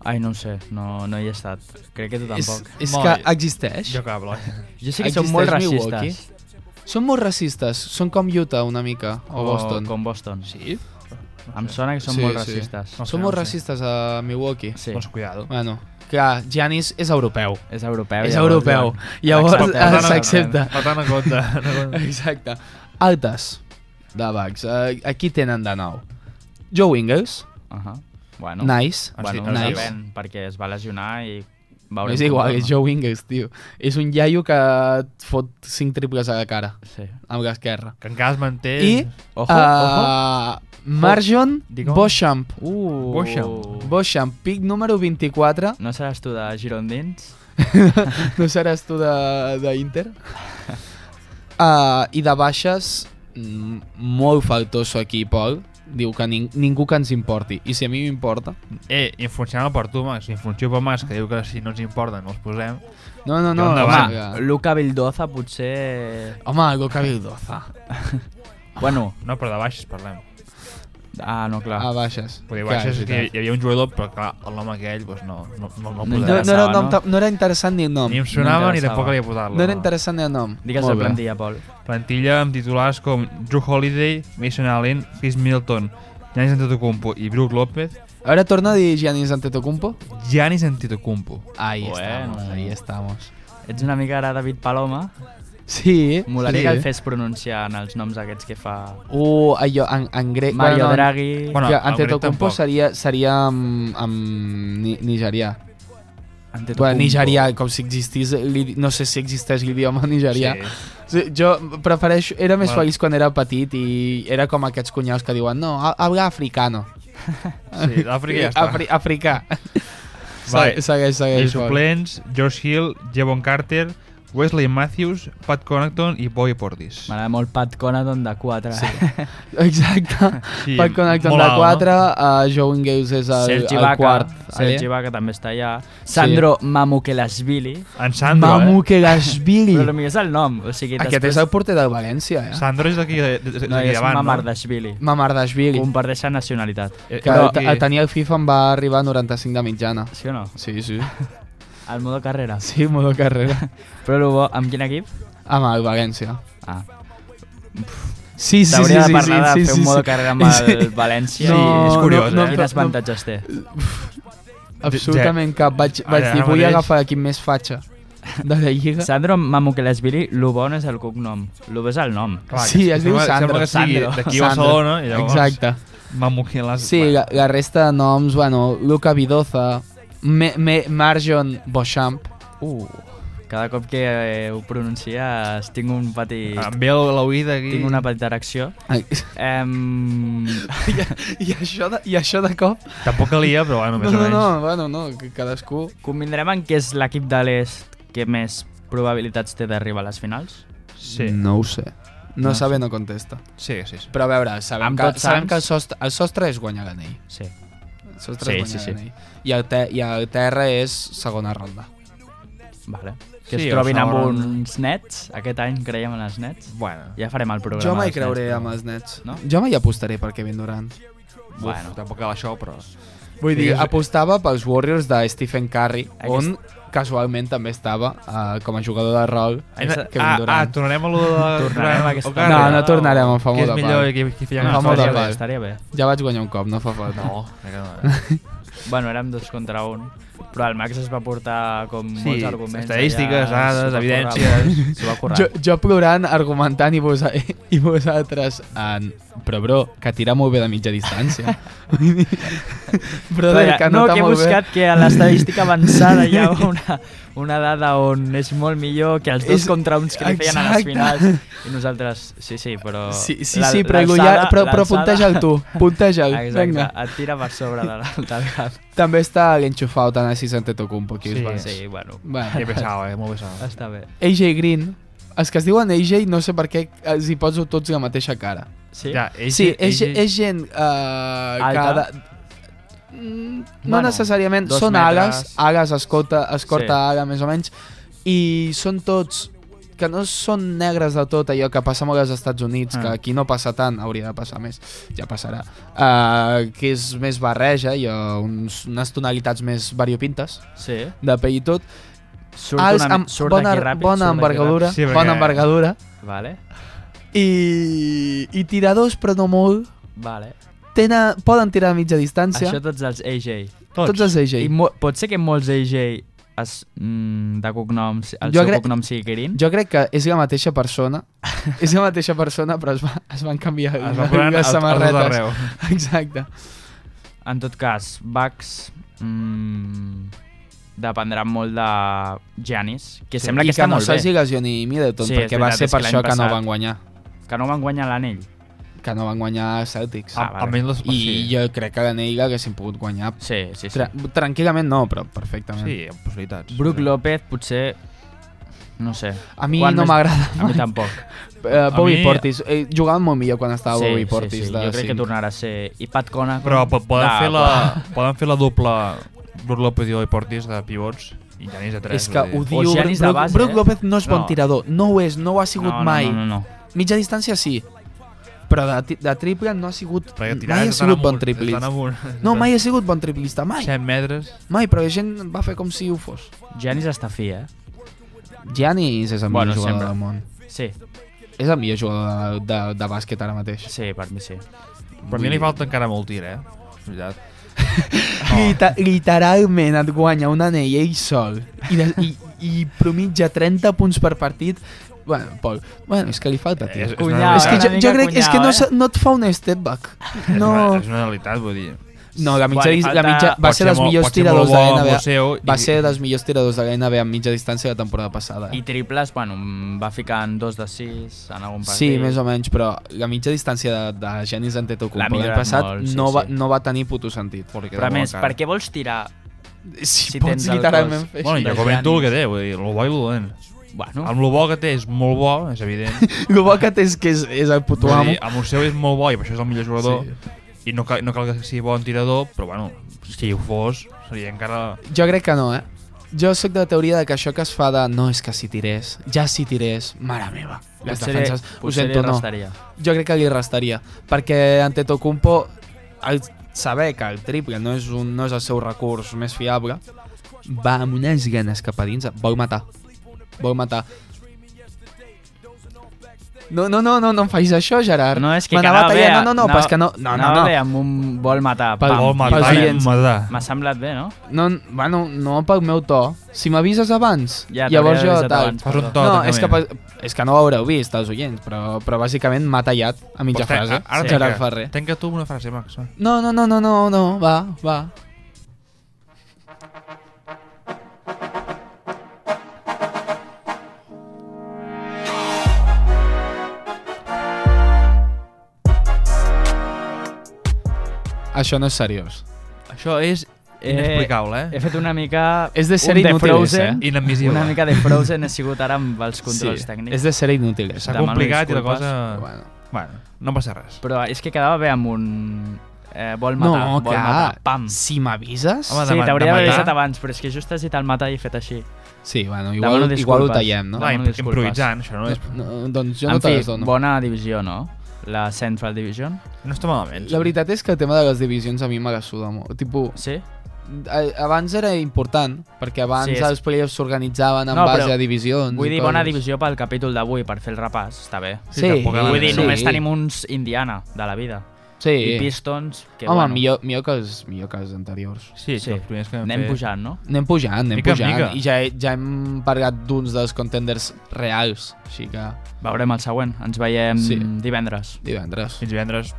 Speaker 1: Ai, no ho sé, no, no hi he estat. Crec que tu
Speaker 2: és,
Speaker 1: tampoc.
Speaker 2: és
Speaker 3: Molt
Speaker 2: que
Speaker 3: bé.
Speaker 2: existeix?
Speaker 3: Jo eh, cable.
Speaker 1: Jo sé que són molt
Speaker 2: Existeix
Speaker 1: racistes.
Speaker 2: Milwaukee? Són molt racistes, són com Utah una mica,
Speaker 3: Oh,
Speaker 2: o, Boston.
Speaker 1: Com Boston. Sí.
Speaker 2: Sí?
Speaker 1: Em sona que són
Speaker 2: Sí,
Speaker 1: molt
Speaker 2: sí.
Speaker 1: racistes.
Speaker 3: No sé,
Speaker 2: Són molt
Speaker 3: no sé.
Speaker 2: racistes a Milwaukee.
Speaker 1: Sí,
Speaker 3: Doncs cuidado.
Speaker 2: Bueno, clar, Giannis és europeu.
Speaker 1: és europeu.
Speaker 2: és
Speaker 1: llavors,
Speaker 2: europeu.
Speaker 1: ja.
Speaker 2: Llavors
Speaker 3: Per tant,
Speaker 2: eh, s'accepta.
Speaker 3: Per tant, a compte. no compte.
Speaker 2: Exacte. Altes de Bucks. Uh, aquí tenen de nou. Joe Ingles,
Speaker 1: Ahà. Bueno,
Speaker 2: no. nice.
Speaker 3: Ah,
Speaker 1: bueno
Speaker 3: sí,
Speaker 1: nice.
Speaker 3: nice.
Speaker 1: depèn, perquè es va lesionar i Veurem
Speaker 2: és
Speaker 1: com
Speaker 2: igual,
Speaker 1: torna.
Speaker 2: és Joe Ingles, tio. És un iaio que et fot cinc triples a la cara,
Speaker 1: Sí.
Speaker 2: amb l'esquerra.
Speaker 3: Que encara es manté...
Speaker 2: I
Speaker 1: Eh, Ojo, ojo.
Speaker 2: Uh, Marjon
Speaker 1: Digue'm.
Speaker 2: Beauchamp.
Speaker 1: Uh,
Speaker 3: Boixam.
Speaker 2: Beauchamp, pic número 24.
Speaker 1: No seràs tu de Girondins?
Speaker 2: *laughs* No seràs tu d'Inter? Uh, I de baixes, mm, molt faltoso aquí, Pol. Diu que ning ningú que ens importi. I si a mi m'importa...
Speaker 3: Eh, i en funció del Portumas, i en funció del Mas, que diu que si no ens importa no els posem,
Speaker 2: No, no,
Speaker 3: Jo
Speaker 2: no.
Speaker 3: endavant.
Speaker 2: Home, ja.
Speaker 1: Luca Vildoza potser...
Speaker 2: home Luca Vildoza.
Speaker 1: Ah. Bueno,
Speaker 3: no, però de baixes parlem.
Speaker 1: ah, no, clar.
Speaker 2: A baixes.
Speaker 3: Vull dir,
Speaker 2: Clar,
Speaker 3: baixes
Speaker 2: és
Speaker 3: és que
Speaker 2: veritat.
Speaker 3: hi havia un jugador, però clar, el nom aquell doncs no, no, no, no,
Speaker 1: No,
Speaker 2: no,
Speaker 3: posava.
Speaker 2: no, era,
Speaker 1: interessava,
Speaker 2: no,
Speaker 1: no?
Speaker 2: no era interessant ni el nom.
Speaker 3: ni em sonava ni
Speaker 1: interessava.
Speaker 3: tampoc havia posat-lo.
Speaker 2: No era interessant ni el nom.
Speaker 1: Digues
Speaker 2: Molt
Speaker 1: la
Speaker 2: bé.
Speaker 1: plantilla, Pol.
Speaker 3: Plantilla amb titulars com Drew Holiday, Mason Allen, Chris Middleton, Giannis Antetokounmpo i Brook López.
Speaker 2: Ahora torna a dir Giannis Antetokounmpo.
Speaker 3: Giannis Antetokounmpo.
Speaker 2: Ahí
Speaker 1: Bueno.
Speaker 2: estamos, ahí estamos.
Speaker 1: Ets una mica ara David Paloma.
Speaker 2: Sí.
Speaker 1: Molaria
Speaker 2: sí.
Speaker 1: que el fes pronunciar en els noms aquests que fa
Speaker 2: Uh, allò, en, en grec...
Speaker 1: Mario
Speaker 2: bueno, no,
Speaker 1: Draghi.
Speaker 3: Bueno,
Speaker 2: que
Speaker 3: en grec
Speaker 2: Antetokounmpo
Speaker 3: tampoc.
Speaker 2: seria, seria amb, amb ni, nigerià.
Speaker 1: Antetokounmpo.
Speaker 2: Bueno, nigerià, com si existís... l'idi- No sé si existeix l'idioma nigerià.
Speaker 3: Sí.
Speaker 2: Sí. Jo prefereixo... Era més
Speaker 3: Bueno.
Speaker 2: feliç quan era petit i era com aquests cunyaus que diuen no, ha- habla africano.
Speaker 3: Sí, d'Àfrica ja està.
Speaker 2: Afri africà.
Speaker 3: Vale.
Speaker 2: Se- Segueix,
Speaker 3: I
Speaker 2: segueix. Pol.
Speaker 3: suplents, George Hill, Jevon Carter, Wesley Matthews, Pat Connaughton i Boy Portis.
Speaker 1: M'agrada molt Pat Conaton de 4. Sí.
Speaker 2: Exacte. *laughs*
Speaker 3: Sí,
Speaker 2: Pat Connaughton
Speaker 3: molt
Speaker 2: de
Speaker 3: alt,
Speaker 2: 4, uh, Joe Ingles és el,
Speaker 1: Sergi
Speaker 2: el
Speaker 1: Vaca,
Speaker 2: quart.
Speaker 1: Sergi
Speaker 2: vale?
Speaker 1: Vaca també està allà. Sandro Mamukelasvili.
Speaker 3: En Sandro, eh?
Speaker 2: Mamukegashvili.
Speaker 1: Però potser és el nom. O sigui,
Speaker 2: Aquest és el porter del València, eh?
Speaker 3: Sandro és d'aquí de- de- de-
Speaker 1: No,
Speaker 3: d'aquí
Speaker 1: és
Speaker 3: davant, no?
Speaker 1: Mamardashvili.
Speaker 2: Mamardashvili,
Speaker 1: Comparteixen nacionalitat.
Speaker 3: Eh,
Speaker 2: que
Speaker 3: eh,
Speaker 2: el, el tenia el FIFA em va arribar a 95 de mitjana.
Speaker 1: Sí o no?
Speaker 2: Sí, sí.
Speaker 1: Al modo carrera.
Speaker 2: *laughs* Sí, modo carrera.
Speaker 1: Però el bo, amb quin equip?
Speaker 2: Amb el València.
Speaker 1: Ah.
Speaker 2: Sí, sí, sí,
Speaker 1: T'hauria
Speaker 2: sí,
Speaker 1: de parlar
Speaker 2: sí,
Speaker 1: de fer
Speaker 2: sí,
Speaker 1: un modo
Speaker 2: sí.
Speaker 1: carrera amb el València.
Speaker 3: Sí, és curiós,
Speaker 2: no, no,
Speaker 3: eh?
Speaker 1: Quins
Speaker 2: no, no,
Speaker 1: avantatges té?
Speaker 2: absolutament cap. Vaig,
Speaker 3: Ara,
Speaker 2: vaig dir,
Speaker 3: ara
Speaker 2: vull
Speaker 3: mateix-
Speaker 2: agafar l'equip més fatxa *laughs* de la Lliga.
Speaker 1: Sandro Mamukelasvili, el bo no és el cognom. El bo és el nom.
Speaker 3: clar,
Speaker 2: Sí,
Speaker 3: que
Speaker 2: es diu
Speaker 3: sembla-
Speaker 2: Sandro,
Speaker 3: Sembla que sigui
Speaker 1: Sandro.
Speaker 3: d'aquí a
Speaker 2: Sandro.
Speaker 3: Barcelona i llavors
Speaker 2: Exacte.
Speaker 3: Mamukelas...
Speaker 2: Sí, la, la resta de noms, bueno, Luca Vidoza, Me, Me, Marjon Beauchamp,
Speaker 1: Uh, cada cop que eh, ho pronuncies tinc un petit...
Speaker 2: Ah,
Speaker 3: Em ve a l'oïda aquí...
Speaker 1: Tinc una petita erecció.
Speaker 2: Ai, *laughs*
Speaker 1: Em...
Speaker 2: I, i, això de, I això de cop...
Speaker 3: Tampoc calia, però bueno,
Speaker 2: No,
Speaker 3: més o
Speaker 2: no,
Speaker 3: menys.
Speaker 2: no, bueno, no, que cadascú...
Speaker 1: Convindrem en què és l'equip de l'est que més probabilitats té d'arribar a les finals?
Speaker 3: Sí,
Speaker 2: No ho sé. No,
Speaker 1: No
Speaker 2: no sabe, no contesta.
Speaker 3: sí, sí. sí.
Speaker 2: Però a veure, sabem,
Speaker 1: Amb
Speaker 2: que,
Speaker 1: tots
Speaker 2: sabem
Speaker 1: sants.
Speaker 2: que el sostre, el sostre és guanyar l'anell.
Speaker 1: Sí.
Speaker 2: El sostre
Speaker 1: Sí,
Speaker 2: és guanyar
Speaker 1: sí, sí.
Speaker 2: l'anell. I, el te, I el terra és segona ronda.
Speaker 1: Vale. Que
Speaker 3: Sí,
Speaker 1: es trobin
Speaker 3: o
Speaker 1: amb
Speaker 3: segon.
Speaker 1: uns nets. Aquest any creiem en els nets.
Speaker 3: Bueno.
Speaker 1: Ja farem el programa.
Speaker 2: jo mai
Speaker 1: dels
Speaker 2: creuré
Speaker 1: nets, però-
Speaker 2: amb els nets.
Speaker 1: No?
Speaker 2: Jo mai apostaré per Kevin Durant.
Speaker 3: Uf,
Speaker 1: Bueno.
Speaker 3: bueno. tampoc cal això, però...
Speaker 2: Vull dir,
Speaker 3: Digues-
Speaker 2: apostava pels Warriors de Stephen Curry,
Speaker 1: Aquest-
Speaker 2: on casualment també estava eh, com a jugador de rol
Speaker 1: Aquesta-
Speaker 2: Kevin
Speaker 3: ah, ah,
Speaker 2: Durant.
Speaker 3: tornarem a lo de...
Speaker 1: Tornarem a aquesta-
Speaker 3: Ocarra.
Speaker 2: no, no tornarem a fa
Speaker 3: Què
Speaker 2: molt
Speaker 3: és
Speaker 2: de
Speaker 3: millor i
Speaker 2: part.
Speaker 3: qui, qui feia
Speaker 2: Em fa
Speaker 1: No,
Speaker 2: molt de
Speaker 1: estaria
Speaker 3: nostàlgia?
Speaker 1: bé,
Speaker 2: pal.
Speaker 1: estaria bé.
Speaker 2: Ja vaig guanyar un cop, no fa falta.
Speaker 3: No, crec que no. eh?
Speaker 1: Bueno, érem dos contra un, però el Max es va portar com
Speaker 3: Sí,
Speaker 1: molts arguments.
Speaker 3: estadístiques,
Speaker 1: allà,
Speaker 3: dades,
Speaker 1: s'ho va
Speaker 3: evidències.
Speaker 1: currar, S'ho va currar.
Speaker 2: Jo, jo plorant, argumentant i, vos, i vosaltres en... Però, bro, que tira molt bé de
Speaker 1: *laughs*
Speaker 2: mitja distància. Vull dir,
Speaker 1: Però
Speaker 2: Brother, que
Speaker 1: no,
Speaker 2: no,
Speaker 1: que he
Speaker 2: molt
Speaker 1: buscat que a
Speaker 2: *laughs*
Speaker 1: l'estadística avançada hi ha una, una dada on és molt millor que els dos
Speaker 2: És-
Speaker 1: contra uns que li feien a les
Speaker 2: exacte.
Speaker 1: finals i nosaltres, sí, sí, però...
Speaker 2: bé. Sí, sí,
Speaker 1: la-
Speaker 2: sí però,
Speaker 1: l'alçada-
Speaker 2: ja, però, però
Speaker 1: l'alçada-
Speaker 2: punteja'l
Speaker 1: *laughs*
Speaker 2: tu, punteja'l.
Speaker 1: Exacte,
Speaker 2: Vinga.
Speaker 1: et tira per sobre de la- del cap.
Speaker 2: També està l'enxufat en Assis Antetokounmpo, aquí us
Speaker 3: Sí.
Speaker 2: va.
Speaker 1: Sí, bueno,
Speaker 2: Bueno.
Speaker 3: Que pesado, eh? Molt pesado.
Speaker 1: està bé.
Speaker 2: AJ Green, els que es diuen AJ, no sé per què els hi poso tots la mateixa cara.
Speaker 1: Sí?
Speaker 3: Ja, ell,
Speaker 2: Sí, és,
Speaker 3: ell-
Speaker 2: és gent uh, que...
Speaker 1: Alta?
Speaker 2: De... Mm, no
Speaker 1: Ah, Bueno,
Speaker 2: necessàriament,
Speaker 1: dos
Speaker 2: són
Speaker 1: metres.
Speaker 2: ales, ales, escolta, escorta
Speaker 1: Sí.
Speaker 2: sí. ala, més o menys, i són tots que no són negres de tot allò que passa molt als Estats Units,
Speaker 1: Ah.
Speaker 2: que aquí no passa tant, hauria de passar més, ja passarà, uh, que és més barreja i uh, uns, unes tonalitats més variopintes
Speaker 1: Sí.
Speaker 2: de pell i tot.
Speaker 1: Surt,
Speaker 2: Alts
Speaker 1: una,
Speaker 2: amb
Speaker 1: surt
Speaker 2: bona,
Speaker 1: d'aquí ràpid.
Speaker 2: bona
Speaker 1: surt d'aquí
Speaker 2: envergadura,
Speaker 3: Sí, perquè-
Speaker 2: bona envergadura,
Speaker 1: ràpid. Vale,
Speaker 2: i, i tiradors però no molt,
Speaker 1: vale.
Speaker 2: tenen, poden tirar a mitja distància.
Speaker 1: Això tots els AJ.
Speaker 2: tots. els
Speaker 1: I
Speaker 2: AJ.
Speaker 1: mo pot ser que molts AJ es, mm, de cognoms, el
Speaker 2: Jo
Speaker 1: seu
Speaker 2: crec-
Speaker 1: cognom sigui Green?
Speaker 2: Jo crec que és la mateixa persona, *laughs* és la mateixa persona, però es, va, es van canviar
Speaker 3: Es
Speaker 2: *laughs*
Speaker 3: va posant a,
Speaker 2: les
Speaker 3: a tot
Speaker 2: samarretes.
Speaker 3: arreu.
Speaker 2: Exacte.
Speaker 1: En tot cas, Bucks... Mm, dependran molt de Giannis, que
Speaker 2: Sí,
Speaker 1: sembla
Speaker 2: I
Speaker 1: que està
Speaker 2: no
Speaker 1: molt bé,
Speaker 2: s'hagi lesioni Middleton,
Speaker 1: Sí, és
Speaker 2: perquè va
Speaker 1: veritat,
Speaker 2: ser
Speaker 1: és
Speaker 2: per
Speaker 1: que
Speaker 2: això
Speaker 1: l'any
Speaker 2: que no
Speaker 1: passat-
Speaker 2: van guanyar.
Speaker 1: que no van guanyar l'anell.
Speaker 2: Que no van guanyar els Celtics.
Speaker 1: Ah, vale.
Speaker 3: Almenys les...
Speaker 2: I jo crec que l'anell l'haguessin pogut guanyar.
Speaker 1: Sí, sí, sí.
Speaker 2: Tra tranquil·lament no, però perfectament.
Speaker 3: Sí, hi ha possibilitats.
Speaker 1: Brook López potser... No sé.
Speaker 2: A mi
Speaker 1: Quan
Speaker 2: no
Speaker 1: més-
Speaker 2: m'agrada.
Speaker 1: A mi tampoc.
Speaker 2: Eh, Bobby
Speaker 3: mi-
Speaker 2: Portis. Eh, jugava molt millor quan estava Bobby
Speaker 1: sí,
Speaker 2: Portis.
Speaker 1: sí.
Speaker 2: De
Speaker 1: Jo crec que
Speaker 2: cinc.
Speaker 1: tornarà a ser... I Pat Connaughton...
Speaker 3: Però po- poden,
Speaker 1: Ah,
Speaker 3: fer la,
Speaker 1: però-
Speaker 3: *laughs* poden fer la dupla Brook López i Oi Portis de pivots i Janis de 3.
Speaker 2: És que ho diu...
Speaker 1: O Giannis de
Speaker 2: Brook,
Speaker 1: base,
Speaker 2: Brook
Speaker 1: eh?
Speaker 2: López no és bon
Speaker 1: No.
Speaker 2: tirador. No ho és, no ho ha sigut
Speaker 1: no,
Speaker 2: mai.
Speaker 1: No, no, no, no.
Speaker 2: Mitja distància sí, però de, ti- de triple no ha sigut...
Speaker 3: Perquè tirar
Speaker 2: Mai ha
Speaker 3: és d'anar
Speaker 2: sigut bon
Speaker 3: amunt, és d'anar
Speaker 2: triplista.
Speaker 3: amunt.
Speaker 2: No, mai ha sigut bon triplista, mai.
Speaker 3: 100 metres.
Speaker 2: Mai, però la gent va fer com si ho fos.
Speaker 1: Giannis està fi, eh?
Speaker 2: Giannis és el millor
Speaker 1: Bueno,
Speaker 2: jugador
Speaker 1: sempre.
Speaker 2: del món.
Speaker 1: Sí,
Speaker 2: És el millor jugador de, de, de bàsquet ara mateix.
Speaker 1: sí, per mi sí.
Speaker 3: Però a mi li falta encara molt tir, eh? És veritat.
Speaker 2: Lita, literalment et guanya un anell ell sol i, de, i, i promitja 30 punts per partit Bueno, Pol, bueno, és que li
Speaker 1: Eh,
Speaker 2: falta, tio. És,
Speaker 3: És- és
Speaker 1: Cunyau,
Speaker 2: que
Speaker 1: una
Speaker 2: jo, jo
Speaker 1: mica
Speaker 2: crec és que
Speaker 1: cunyau,
Speaker 2: no,
Speaker 1: eh?
Speaker 2: se- no et fa un step back.
Speaker 3: És
Speaker 2: No,
Speaker 3: una- És una realitat, vull dir.
Speaker 2: no la mitja,
Speaker 1: Bueno,
Speaker 2: dis- la
Speaker 1: falta-
Speaker 2: mitja va
Speaker 3: Pot
Speaker 2: ser dels
Speaker 3: molt-
Speaker 2: millors
Speaker 3: pot ser molt
Speaker 2: tiradors de
Speaker 3: bo
Speaker 2: la
Speaker 3: amb
Speaker 2: NBA.
Speaker 3: el seu i-
Speaker 2: Va ser dels millors tiradors de la NBA amb mitja distància la temporada passada.
Speaker 1: I
Speaker 2: Eh?
Speaker 1: triples, bueno, mm, va ficar en dos de sis en algun partit.
Speaker 2: Sí, més o menys, però la mitja distància de, de Giannis
Speaker 1: L'ha
Speaker 2: Antetokounmpo l'any
Speaker 1: millorat
Speaker 2: passat
Speaker 1: molt, sí,
Speaker 2: no, va,
Speaker 1: sí.
Speaker 2: no va tenir puto sentit.
Speaker 3: Però, li queda
Speaker 1: Però a
Speaker 3: molt
Speaker 1: més,
Speaker 3: encara.
Speaker 1: per què vols tirar?
Speaker 2: *laughs* Si,
Speaker 1: Si
Speaker 2: pots
Speaker 1: tens el
Speaker 2: literalment
Speaker 1: cos.
Speaker 2: fer
Speaker 3: Bueno,
Speaker 1: de
Speaker 3: ja comento el
Speaker 1: Giannis.
Speaker 3: que té, vull dir, el bo i el dolent.
Speaker 1: Bueno,
Speaker 3: Amb el bo que té és molt bo, és evident.
Speaker 2: El bo que té és que és, és el puto
Speaker 3: Vull
Speaker 2: amo.
Speaker 3: dir, amb el seu és molt bo i per això és el millor jugador. I no cal, no cal que sigui bon tirador, però bueno, si ho fos, seria encara...
Speaker 2: Jo crec que no, eh? Jo sóc de la teoria de que això que es fa de no és que si tirés, ja si tirés, mare meva. Les
Speaker 1: potser,
Speaker 2: defenses, ho
Speaker 1: potser
Speaker 2: sento,
Speaker 1: li
Speaker 2: no.
Speaker 1: restaria.
Speaker 2: Jo crec que li restaria, perquè Antetokounmpo, al saber que el triple no és, un, no és el seu recurs més fiable, va amb unes ganes cap a dins, vol matar, vol matar. No, no, no, no, no em facis això, Gerard.
Speaker 1: No, és que
Speaker 2: M'anava
Speaker 1: anava bé
Speaker 2: tallant,
Speaker 1: a-
Speaker 2: no, no, no, però és que no, no, no,
Speaker 1: anava
Speaker 2: no.
Speaker 1: bé amb un vol matar.
Speaker 2: Pel-
Speaker 1: Pam,
Speaker 3: Vol matar,
Speaker 2: pels
Speaker 1: i
Speaker 2: oients.
Speaker 3: matar.
Speaker 1: M'ha semblat bé, no?
Speaker 2: No, bueno, no pel meu to. Si m'avises abans,
Speaker 1: Ja, t'hauria
Speaker 2: ja, llavors jo
Speaker 1: avisat
Speaker 2: tal.
Speaker 1: abans,
Speaker 3: Fas un
Speaker 1: perdó.
Speaker 3: to,
Speaker 2: no, és que, pa- és que no ho haureu vist, els oients, però, però bàsicament m'ha tallat a mitja frase.
Speaker 3: Ara
Speaker 2: sí.
Speaker 3: tanca.
Speaker 2: Gerard Ferrer.
Speaker 3: Tanca tu una frase, Max. va.
Speaker 2: No, no, no, no, no, no, va, va. Això no és seriós.
Speaker 3: Això és
Speaker 1: Eh,
Speaker 3: inexplicable,
Speaker 1: He
Speaker 3: eh?
Speaker 1: fet una mica...
Speaker 2: És de ser
Speaker 1: un The
Speaker 2: inútils,
Speaker 1: Frozen,
Speaker 2: eh?
Speaker 3: Inadmissible.
Speaker 1: Una mica de Frozen he sigut ara amb els controls tècnics. Eh,
Speaker 2: és de ser inútil.
Speaker 3: S'ha
Speaker 1: demano
Speaker 3: complicat i la
Speaker 1: disculpes,
Speaker 3: cosa...
Speaker 2: Però bueno.
Speaker 3: Bueno, no passa res.
Speaker 1: Però és que quedava bé amb un... Eh, vol matar,
Speaker 2: no,
Speaker 1: vol matar, pam.
Speaker 2: si m'avises...
Speaker 3: Home,
Speaker 1: Sí,
Speaker 3: de ma-
Speaker 1: t'hauria
Speaker 3: de
Speaker 1: d'haver
Speaker 3: matar.
Speaker 1: avisat abans, però és que just has dit el matar i he fet així.
Speaker 2: Sí, bueno,
Speaker 1: Demano
Speaker 2: igual, igual ho
Speaker 1: disculpes.
Speaker 2: tallem, no?
Speaker 1: Va,
Speaker 3: Clar,
Speaker 1: demano
Speaker 3: imp-
Speaker 1: disculpes.
Speaker 3: improvisant, això no és...
Speaker 2: No, doncs jo
Speaker 1: en
Speaker 2: no te
Speaker 1: fi,
Speaker 2: les dono.
Speaker 1: bona divisió, no? La Central Division.
Speaker 3: No està malament.
Speaker 2: La veritat és que el tema de les divisions a mi me la suda molt. Tipo,
Speaker 1: Sí?
Speaker 2: a- abans era important, perquè abans
Speaker 1: Sí,
Speaker 2: sí,
Speaker 1: és-
Speaker 2: els playoffs s'organitzaven en
Speaker 1: No,
Speaker 2: no,
Speaker 1: però
Speaker 2: base a divisions.
Speaker 1: Vull
Speaker 2: i
Speaker 1: dir, bona
Speaker 2: coses.
Speaker 1: divisió pel capítol d'avui, per fer el repàs, està bé.
Speaker 2: Sí, sí,
Speaker 3: tampoc ara-
Speaker 1: Vull dir,
Speaker 3: Sí.
Speaker 1: només tenim uns Indiana de la vida.
Speaker 2: Sí.
Speaker 1: I Pistons, que
Speaker 2: Home,
Speaker 1: bueno,
Speaker 2: millor, millor, que els, millor que els anteriors.
Speaker 3: Sí, sí,
Speaker 1: Sí.
Speaker 3: els primers que vam
Speaker 1: anem
Speaker 3: fer.
Speaker 1: pujant, no?
Speaker 2: Anem pujant, anem
Speaker 3: Mica en
Speaker 2: pujant.
Speaker 3: mica.
Speaker 2: I ja, he- ja hem parlat d'uns dels contenders reals, així que
Speaker 1: Veurem el següent. Ens veiem
Speaker 2: Sí.
Speaker 1: divendres.
Speaker 2: divendres.
Speaker 3: Fins divendres.